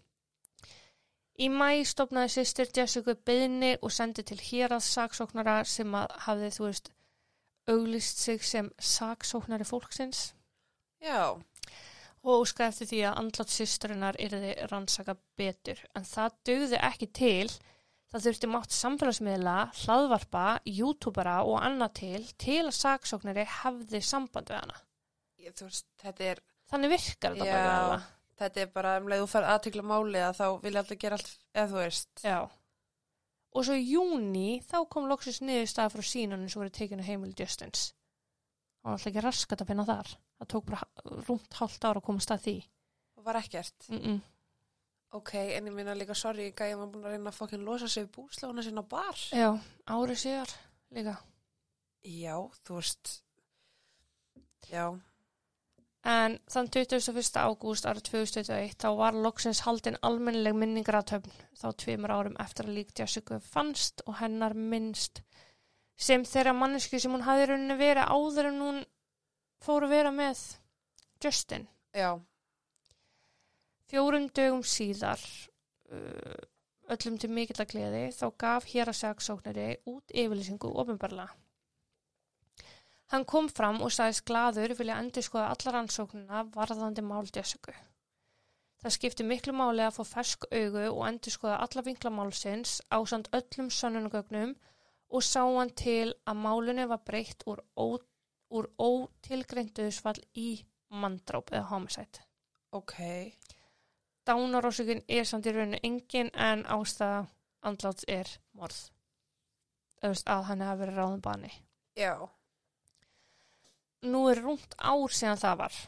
[SPEAKER 1] Í mæ stopnaði sýstir Jessica beðni og sendi til héraðsaksóknara sem að hafði, þú veist, auglist sig sem saksóknari fólksins
[SPEAKER 2] já,
[SPEAKER 1] og óskaði eftir því að andlátt sýsturinnar yrði rannsaka betur. En það dugði ekki til, það þurfti mátt samfélagsmiðla, hlaðvarpa, youtubera og annað til til að saksóknari hefði samband við hana.
[SPEAKER 2] ég, þú veist, þetta er
[SPEAKER 1] Þannig virkar þetta
[SPEAKER 2] Já.
[SPEAKER 1] bara við hana.
[SPEAKER 2] þetta er bara um leið þú fær aðtikla máli að þá vilja alltaf gera allt eða þú veist
[SPEAKER 1] Já. Og svo í júni þá kom loksins niðurstaða frá sínunum sem voru tekinu heimil Justins. Það var alltaf ekki raskat að finna þar. Það tók bara rúmt hálft ára að komast að því.
[SPEAKER 2] og var ekkert
[SPEAKER 1] Mm -mm.
[SPEAKER 2] ok, en ég minna líka sorry gæði maður búin að reyna að fokkin losa sig við búslóna sinna á bar
[SPEAKER 1] Já, árið síðar líka.
[SPEAKER 2] já, þú veist já,
[SPEAKER 1] En þann 21. ágúst árið 2021 þá var loksins haldin almennileg minningratöfn þá tveimur árum eftir að lík Jessica fannst og hennar minnst sem þeirra mannesku sem hún hafði í rauninni verið áður en hún fór að vera með Justin.
[SPEAKER 2] já,
[SPEAKER 1] Fjórum dögum síðar, uh, öllum til mikill að gleði, þá gaf hér að saksóknari út yfirlýsingu ofinbarlega. Hann kom fram og sagðist glaður vilja endur skoða alla rannsóknuna varðandi mál Jessica. Það skipti miklu máli að fá fersk augu og endur skoða alla vinklamálsins ásand öllum sönnunugögnum og sá hann til að málunni var breytt úr, ó, úr ótilgreinduðsfall í mandróp eða homicide
[SPEAKER 2] ok
[SPEAKER 1] dánarósökin er samt í rauninu engin en ástæða andlátt er morð Þú veist, að hann hefði verið ráðum bani
[SPEAKER 2] já,
[SPEAKER 1] nú er rúmt ár síðan það var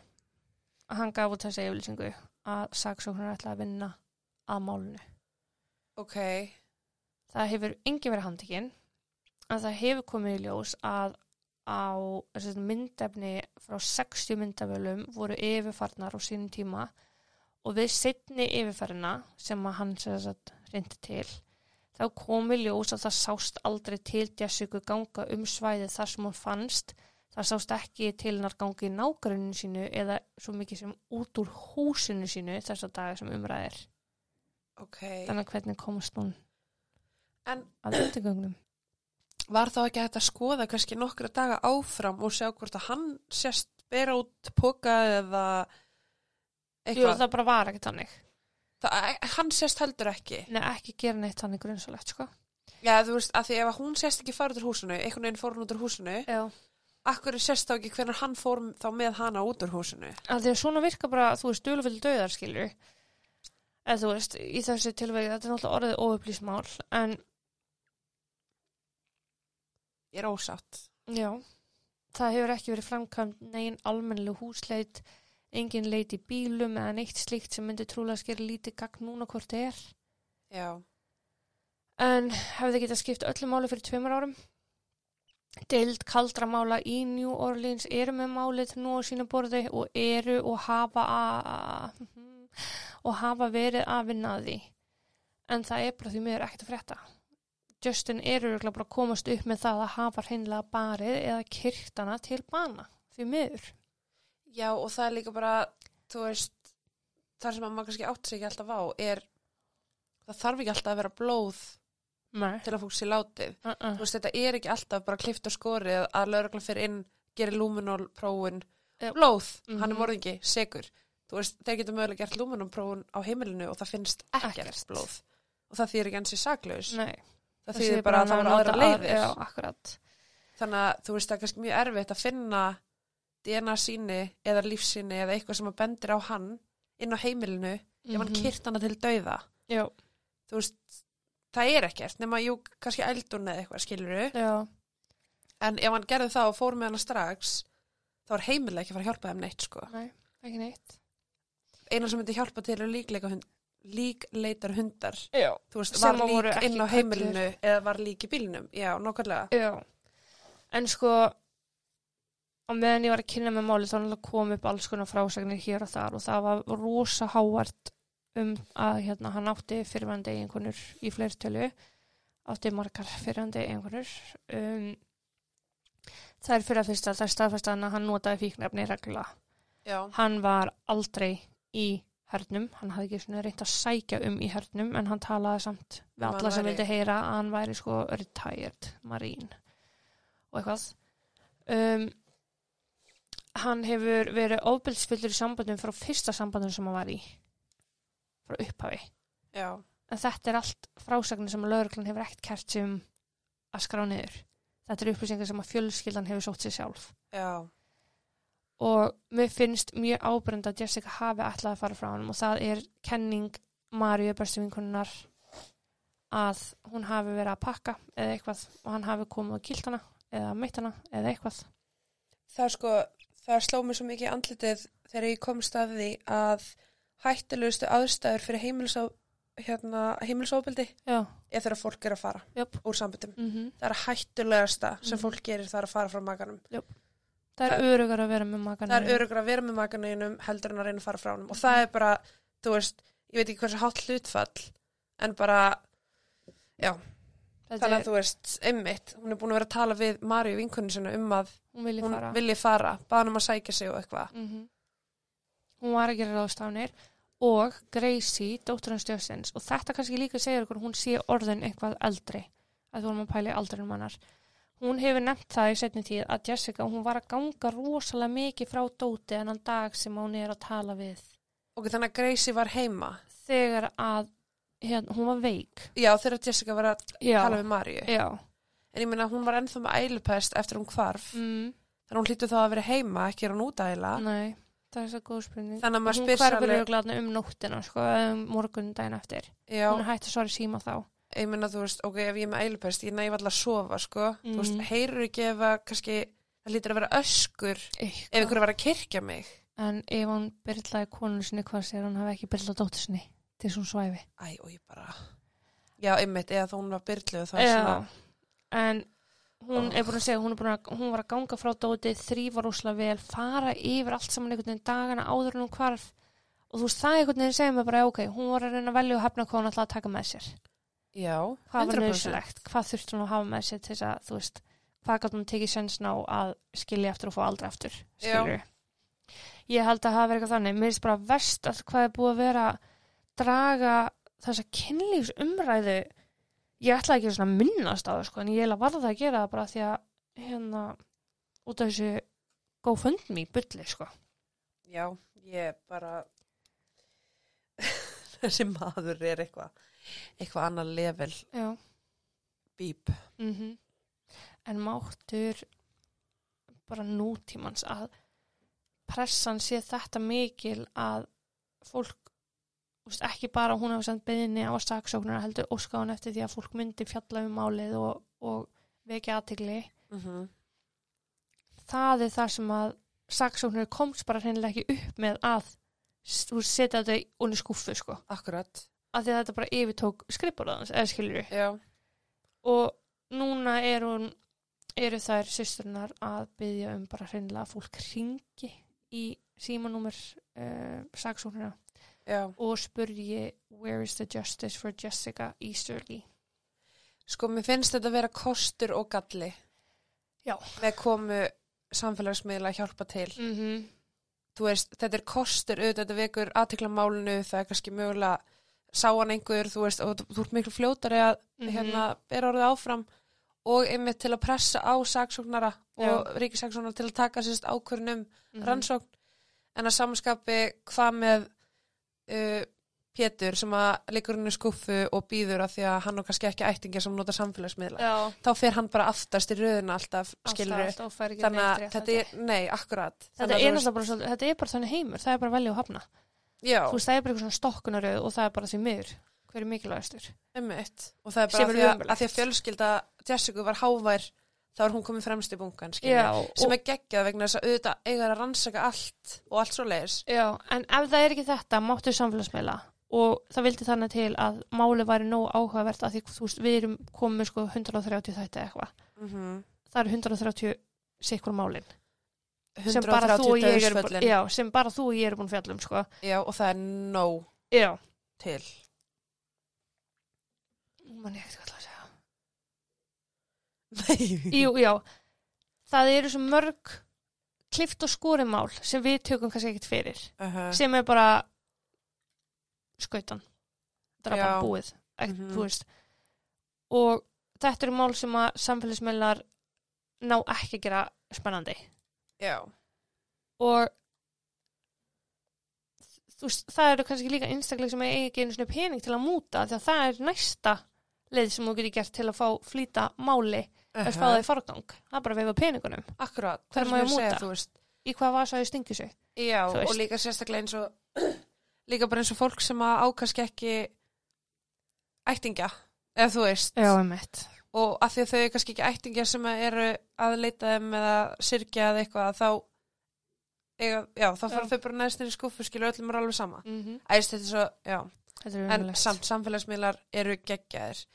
[SPEAKER 1] að hann gaf út þessi yfirlýsingu að saksóknar ætla að vinna að málunu
[SPEAKER 2] ok
[SPEAKER 1] það hefur engin verið handikinn en það hefur komið í ljós að á þessi myndefni frá 60 myndafölum voru yfirfarnar á sínum tíma og við setni yfirferðina sem að hann sem sagt, reyndi til þá komið ljós að það sást aldrei til Jessica ganga um svæðið þar sem hún fannst það sást ekki til hennar gangi í nágruninu sínu eða svo mikið sem út úr húsinu sínu þess að daga sem umræðir
[SPEAKER 2] ok,
[SPEAKER 1] þannig að hvernig komast hún
[SPEAKER 2] En-
[SPEAKER 1] að undirgögnum
[SPEAKER 2] var þá ekki hægt að skoða kannski nokkra daga áfram og sjá hvort að hann sérst bera út póka eða
[SPEAKER 1] Jú,
[SPEAKER 2] eitthvað,
[SPEAKER 1] það bara var ekkert þannig.
[SPEAKER 2] það, e, hann sérst heldur ekki
[SPEAKER 1] Nei, ekki gera neitt þannig grunnsolegt, sko.
[SPEAKER 2] Já, þú veist, að því ef að hún sérst ekki fara út úr húsinu, einhvern veginn fór hún út úr húsinu,
[SPEAKER 1] Já.
[SPEAKER 2] akkur sérst þá ekki hvernig hann fór þá með hana út úr húsinu.
[SPEAKER 1] Að því að svona virka bara, þú veist, duðlufill döðar, skilur. Eða þú veist, í þessu tilvægi, þetta er náttúrulega orðið óupplýst mál, en
[SPEAKER 2] Ég er ósátt.
[SPEAKER 1] já, það hefur ekki verið framkvæmt negin almennileg húsleit, engin leit í bílum eða neitt slíkt sem myndi trúlega skera lítið gagn núna hvort það er.
[SPEAKER 2] Já,
[SPEAKER 1] en hefði getað skipt öllu máli fyrir tveimur árum. Deild kaldra mála í New Orleans eru með málið nú á sína borði og eru og hafa, að, og hafa verið að vinna að því. En það er bara því miður ekkert að frétta. Justin eru örugglega bara að komast upp með það að hafa hreinlega barið eða kyrktana til bana. Því miður.
[SPEAKER 2] já og það er líka bara, þú veist, þar sem að maður kannski átt sig ekki alltaf á er, það þarf ekki alltaf að vera blóð
[SPEAKER 1] Nei.
[SPEAKER 2] til að fólk sé látið.
[SPEAKER 1] Uh
[SPEAKER 2] Þú
[SPEAKER 1] -uh.
[SPEAKER 2] veist, þetta er ekki alltaf bara klift og skorið að lauruglan fyrir inn, gerir luminol prófun,
[SPEAKER 1] Já.
[SPEAKER 2] blóð, hann er
[SPEAKER 1] Mhm.
[SPEAKER 2] morðingi, segur. Þú veist, þeir getur mögulega gert luminol prófun á heimilinu og það finnst ekkert,
[SPEAKER 1] Ekkert.
[SPEAKER 2] blóð. Og það þýr ekki hans í saklaus.
[SPEAKER 1] Nei.
[SPEAKER 2] það þýðir bara að það voru aðra leiðir
[SPEAKER 1] Já, akkurat.
[SPEAKER 2] þannig að þú veist það er kannski mjög erfitt að finna DNA síni eða lífsíni eða eitthvað sem að bendir á hann inn á heimilinu ef hann kyrt hana til dauða
[SPEAKER 1] Mhm. Já,
[SPEAKER 2] þú veist, það er ekkert nema jú, kannski eldun eða eitthvað skiluru
[SPEAKER 1] já.
[SPEAKER 2] en ef hann gerði það og fór með hana strax þá er heimilega ekki að fara að hjálpa þeim neitt sko
[SPEAKER 1] Nei, ekki neitt.
[SPEAKER 2] eina sem myndi hjálpa til er líklega hund líkleitar hundar
[SPEAKER 1] Já.
[SPEAKER 2] þú veist,
[SPEAKER 1] Sem
[SPEAKER 2] var
[SPEAKER 1] að voru
[SPEAKER 2] lík
[SPEAKER 1] ekki
[SPEAKER 2] inn á
[SPEAKER 1] köllur.
[SPEAKER 2] heimilinu eða var lík í bílnum, já, nákvæmlega
[SPEAKER 1] Já. En sko, á meðan ég var að kynna með málið þá náttúrulega kom upp alls konar frásagnir hér og þar og það var rosa hávart um að hérna, hann átti fyrirvændi einhvernur í fleirtölu, átti margar fyrirvændi einhvernur. Um, það er fyrir að fyrsta, það er staðfæstaðan að hann notaði fíknefni regla.
[SPEAKER 2] já,
[SPEAKER 1] Hann var aldrei í hernum, hann hafði ekki svona reynt að sækja um í hernum en hann talaði samt við
[SPEAKER 2] Um að
[SPEAKER 1] alla sem
[SPEAKER 2] væri-
[SPEAKER 1] vildi heyra að hann væri sko retired marine og eitthvað um, hann hefur verið ofbildsfullur í sambandum frá fyrsta sambandum sem hann var í frá upphafi
[SPEAKER 2] já,
[SPEAKER 1] en þetta er allt frásagnir sem lögreglan hefur ekkert kert sem að skrá niður þetta er upplýsingar sem að fjölskyldan hefur sótt sér sjálf
[SPEAKER 2] já
[SPEAKER 1] og mér finnst mjög ábrend að Jessica hafi ætlað að fara frá hann og það er kenning Maríu bestu vinkunnar að hún hafi verið að pakka eða eitthvað og hann hafi komið og kilt hana eða meitt hana eða eitthvað
[SPEAKER 2] það er sko, það sló mér svo mikið í andlitið þegar ég komst að því að hættulegustu aðstæður fyrir heimilisó, hérna, heimilisóbildi
[SPEAKER 1] Já,
[SPEAKER 2] er þegar fólk er að fara
[SPEAKER 1] jöp
[SPEAKER 2] úr sambundum.
[SPEAKER 1] mm
[SPEAKER 2] Það er hættulegasta sem
[SPEAKER 1] Mhm.
[SPEAKER 2] fólk gerir það er að fara frá makanum.
[SPEAKER 1] Það er örugar að vera með makan
[SPEAKER 2] Það er örugur að vera með makaninum heldur en að reyna að fara frá hann og það er bara, þú veist, ég veit ekki hversu hátt hlutfall en bara, þannig að
[SPEAKER 1] Þetta er,
[SPEAKER 2] þú veist, einmitt, hún er búin að vera að tala við Maríu vinkunni sinna um að
[SPEAKER 1] hún vilji
[SPEAKER 2] hún
[SPEAKER 1] fara
[SPEAKER 2] vilji fara, baða hann um að sækja sig og eitthvað.
[SPEAKER 1] -hmm. Hún var að gera ráðstafnir og Gracie, dóttur hans Justin's og þetta kannski líka segir okkur að hún sé orðin eitthvað eldri að þú erum að pæla í aldrinum hennar hún hefur nefnt það í setni tíð að Jessica hún var að ganga rosalega mikið frá dóti hennan dag sem hún er að tala við
[SPEAKER 2] Ok, þannig að Gracie var heima.
[SPEAKER 1] þegar að hérna, hún var veik
[SPEAKER 2] Já, þegar Jessica var að
[SPEAKER 1] já,
[SPEAKER 2] tala við Maríu.
[SPEAKER 1] já
[SPEAKER 2] En ég meina hún var ennþá með ælupest eftir hún hvarf.
[SPEAKER 1] mm,
[SPEAKER 2] Þannig að hún hlýtur þá að vera heima, ekki er hún út að æla.
[SPEAKER 1] nei, það er svo góð spurning
[SPEAKER 2] Þannig að maður
[SPEAKER 1] hún
[SPEAKER 2] spyr sér
[SPEAKER 1] hverfur
[SPEAKER 2] alveg,
[SPEAKER 1] auðvitað um nóttina sko, um morgun daginn eftir
[SPEAKER 2] já,
[SPEAKER 1] hún er hægt að svara í síma þá
[SPEAKER 2] ég meina þú veist, ok, ef ég er með ælupest, ég næf alltaf að sofa, sko.
[SPEAKER 1] Mhm.
[SPEAKER 2] Þú veist, heyrur ekki ef að kannski, það hlýtur að vera öskur ef
[SPEAKER 1] Eitthvað.
[SPEAKER 2] einhverju var að kirkja mig.
[SPEAKER 1] En ef hann byrlaði konun sinni hvað sér hann hafi ekki byrlað dóttur sinni til svona svæfi.
[SPEAKER 2] Æ, og ég bara, já, einmitt, eða þá hún var byrluð, það er svona,
[SPEAKER 1] En hún
[SPEAKER 2] Oh.
[SPEAKER 1] er búin að segja, hún, er búin að, hún var að ganga frá dóti, þrýfa rosalega vel, fara yfir allt saman einhvern veginn dagana áður en hún hvarf og þú veist það einhvern veginn segir mér bara ok, hún var að reyna að velja og hefna hvað hún alltaf að taka með sér.
[SPEAKER 2] já,
[SPEAKER 1] Hvað var
[SPEAKER 2] 100%.
[SPEAKER 1] nöðsilegt? Hvað þurfti hún að hafa með sér til þess að, þú veist, hvað gæti hún tekið sens ná að skilja eftir og fá aldrei aftur?
[SPEAKER 2] Já.
[SPEAKER 1] Skilur Ég held að hafa verið eitthvað þannig. Mér finnst bara verst að hvað er búið að vera að draga þessa kynlífsumræðu ég ætlaði ekki svona að minnast á það sko, en ég eiginlega varð að gera það bara því að hérna út af þessu GoFundMe bulli sko.
[SPEAKER 2] Já, ég bara, þessi maður er eitthvað, eitthvað annað level,
[SPEAKER 1] Já.
[SPEAKER 2] bíp.
[SPEAKER 1] Mm En máttur bara nútímans að pressan sé þetta mikil að fólk úst, ekki bara hún hefur sendt beðinni á saksóknuna heldur óskáðan eftir því að fólk myndi fjalla um málið og, og vekja aðtigli
[SPEAKER 2] Mm
[SPEAKER 1] það er það sem að saksóknur komst bara hreinlega ekki upp með að þú setja þetta í onni skúfu sko
[SPEAKER 2] Akkurat,
[SPEAKER 1] af því að þetta bara yfirtók skrifbólaðans eða skilur
[SPEAKER 2] já.
[SPEAKER 1] og núna er hún eru þær systurnar að byggja um bara hreinlega að fólk ringi í símanúmer uh, saksóknuna
[SPEAKER 2] Já,
[SPEAKER 1] og spurji where is the justice for Jessica Easterly
[SPEAKER 2] sko mér finnst þetta að vera kostur og galli
[SPEAKER 1] Já.
[SPEAKER 2] með komu samfélagsmiðla að hjálpa til.
[SPEAKER 1] mm -hmm.
[SPEAKER 2] Þú veist, þetta er kostur auðvitað, þetta vekur aðtekla málinu, það er kannski mögulega sá hann einhver, þú veist, og þú, þú ert miklu fljótari að
[SPEAKER 1] mhm,
[SPEAKER 2] hérna, bera orðið áfram og einmitt til að pressa á saksóknara og ríkisaksóknara til að taka sérst um ákvörnum
[SPEAKER 1] mhm.
[SPEAKER 2] rannsókn en að samanskapi hvað með uh, Pétur sem að liggur henni skuffu og býður að því að hann og kannski ekki ættingi sem nota samfélagsmiðla
[SPEAKER 1] já,
[SPEAKER 2] þá fer hann bara aftast í röðina alltaf skilur
[SPEAKER 1] alltaf, alltaf fær ekki
[SPEAKER 2] þannig
[SPEAKER 1] neitt
[SPEAKER 2] að
[SPEAKER 1] rétt
[SPEAKER 2] þetta er, nei, akkurat
[SPEAKER 1] Þetta er, náttúrulega bara, svolítið- þetta er bara þannig heimur, það er bara að velja og hafna.
[SPEAKER 2] já,
[SPEAKER 1] Þú veist, það er bara eitthvað svona stokkunaröð og það er bara því miður. Hver er mikilvægastur?
[SPEAKER 2] ummitt og það er
[SPEAKER 1] Sem
[SPEAKER 2] bara
[SPEAKER 1] er
[SPEAKER 2] að því að,
[SPEAKER 1] ömurlegt.
[SPEAKER 2] að því að fjölskylda Jessica var hávær þá er hún komin fremst í bungan skilur
[SPEAKER 1] Já,
[SPEAKER 2] sem
[SPEAKER 1] og,
[SPEAKER 2] er geggjað vegna þess að auðvitað eiga þær að rannsaka allt og allt svo leiðis
[SPEAKER 1] já, en ef það er ekki þetta, máttu samfélagsmeila og það vildi þannig til að máli væri nóg áhugavert að því þú veist, við erum komið sko 130 þætti eða eitthvað
[SPEAKER 2] Mm -hmm.
[SPEAKER 1] það eru 130 sikkur málin sem bara, þú og
[SPEAKER 2] 130
[SPEAKER 1] ég erum, bú-
[SPEAKER 2] döðsföllin.
[SPEAKER 1] já, sem bara þú og ég erum búin að fjalla um sko.
[SPEAKER 2] Já, og það er nóg
[SPEAKER 1] já,
[SPEAKER 2] til.
[SPEAKER 1] nú man ég ekkert hvað það að segja
[SPEAKER 2] Nei.
[SPEAKER 1] Jú, já, það eru svo mörg klift og skúrimál sem við tökum kannski ekkert fyrir
[SPEAKER 2] Uh -huh.
[SPEAKER 1] sem er bara skautan drapan
[SPEAKER 2] Já.
[SPEAKER 1] búið ekkert,
[SPEAKER 2] Mhm.
[SPEAKER 1] þú veist og þetta eru mál sem að samfélagsmeilar ná ekki að gera spennandi
[SPEAKER 2] Já.
[SPEAKER 1] og þú veist, það eru kannski líka einstaklega sem eiga ekki einu svona pening til að múta því að það er næsta leið sem þú getur gert til að fá flýta máli
[SPEAKER 2] Uh
[SPEAKER 1] að fá það í forgang það er bara að veifa peningunum
[SPEAKER 2] Akkurat,
[SPEAKER 1] Hvar
[SPEAKER 2] það
[SPEAKER 1] má
[SPEAKER 2] sem
[SPEAKER 1] ég
[SPEAKER 2] ég að segja,
[SPEAKER 1] múta?
[SPEAKER 2] þú veist.
[SPEAKER 1] í hvað vasa þau stingu sig
[SPEAKER 2] Já,
[SPEAKER 1] Þú veist.
[SPEAKER 2] og líka sérstaklega eins og, líka bara eins og fólk sem að ákaski ekki ættingja, ef þú veist.
[SPEAKER 1] einmitt
[SPEAKER 2] Og af því að þau eru kannski ekki ættingja sem að eru að leita þeim eða syrkja eða eitthvað, þá, eiga, já, þá fara
[SPEAKER 1] Já.
[SPEAKER 2] þau bara neðst inn í skúffu, skilur öllum er alveg sama.
[SPEAKER 1] mm -hmm.
[SPEAKER 2] Æst, þetta er svo, já,
[SPEAKER 1] þetta er
[SPEAKER 2] Mhm. en samt samfélagsmiðlar eru geggjaðir.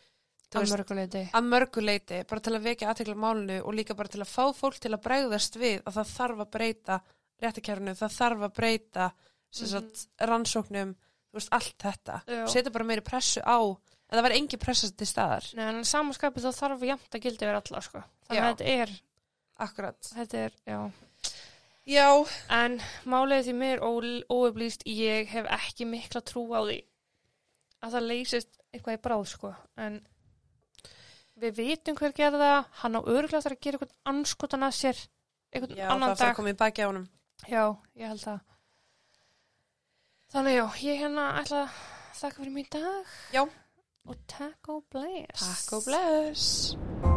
[SPEAKER 2] Þú veist,
[SPEAKER 1] mörguleiti
[SPEAKER 2] að mörgu leiti, bara til að vekja aðtekla málinu og líka bara til að fá fólk til að bregðast við að það þarf að breyta réttakjærinu, það þarf að breyta sem sagt, rannsóknum, þú veist, allt þetta
[SPEAKER 1] Já.
[SPEAKER 2] setja bara meiri pressu á en það var engin pressa til staðar
[SPEAKER 1] Nei, en samanskapið þá þarf jæmt að gildi verið alla, sko. Þannig að
[SPEAKER 2] Já.
[SPEAKER 1] þetta er,
[SPEAKER 2] Akkurat.
[SPEAKER 1] þetta er, já.
[SPEAKER 2] Já,
[SPEAKER 1] En málið því mér óöflýst, ég hef ekki mikla trú á því að það leysist eitthvað í bráð, sko. En við vitum hver gerði það, hann á örglega þar að gera eitthvað anskotan að sér, eitthvað
[SPEAKER 2] Já
[SPEAKER 1] annan
[SPEAKER 2] það fyrir
[SPEAKER 1] dag.
[SPEAKER 2] að koma í baki á honum
[SPEAKER 1] Já, ég held það. Þannig já, ég hérna ætla að þakka fyrir mig í dag.
[SPEAKER 2] Já.
[SPEAKER 1] Og takk og bless.
[SPEAKER 2] bless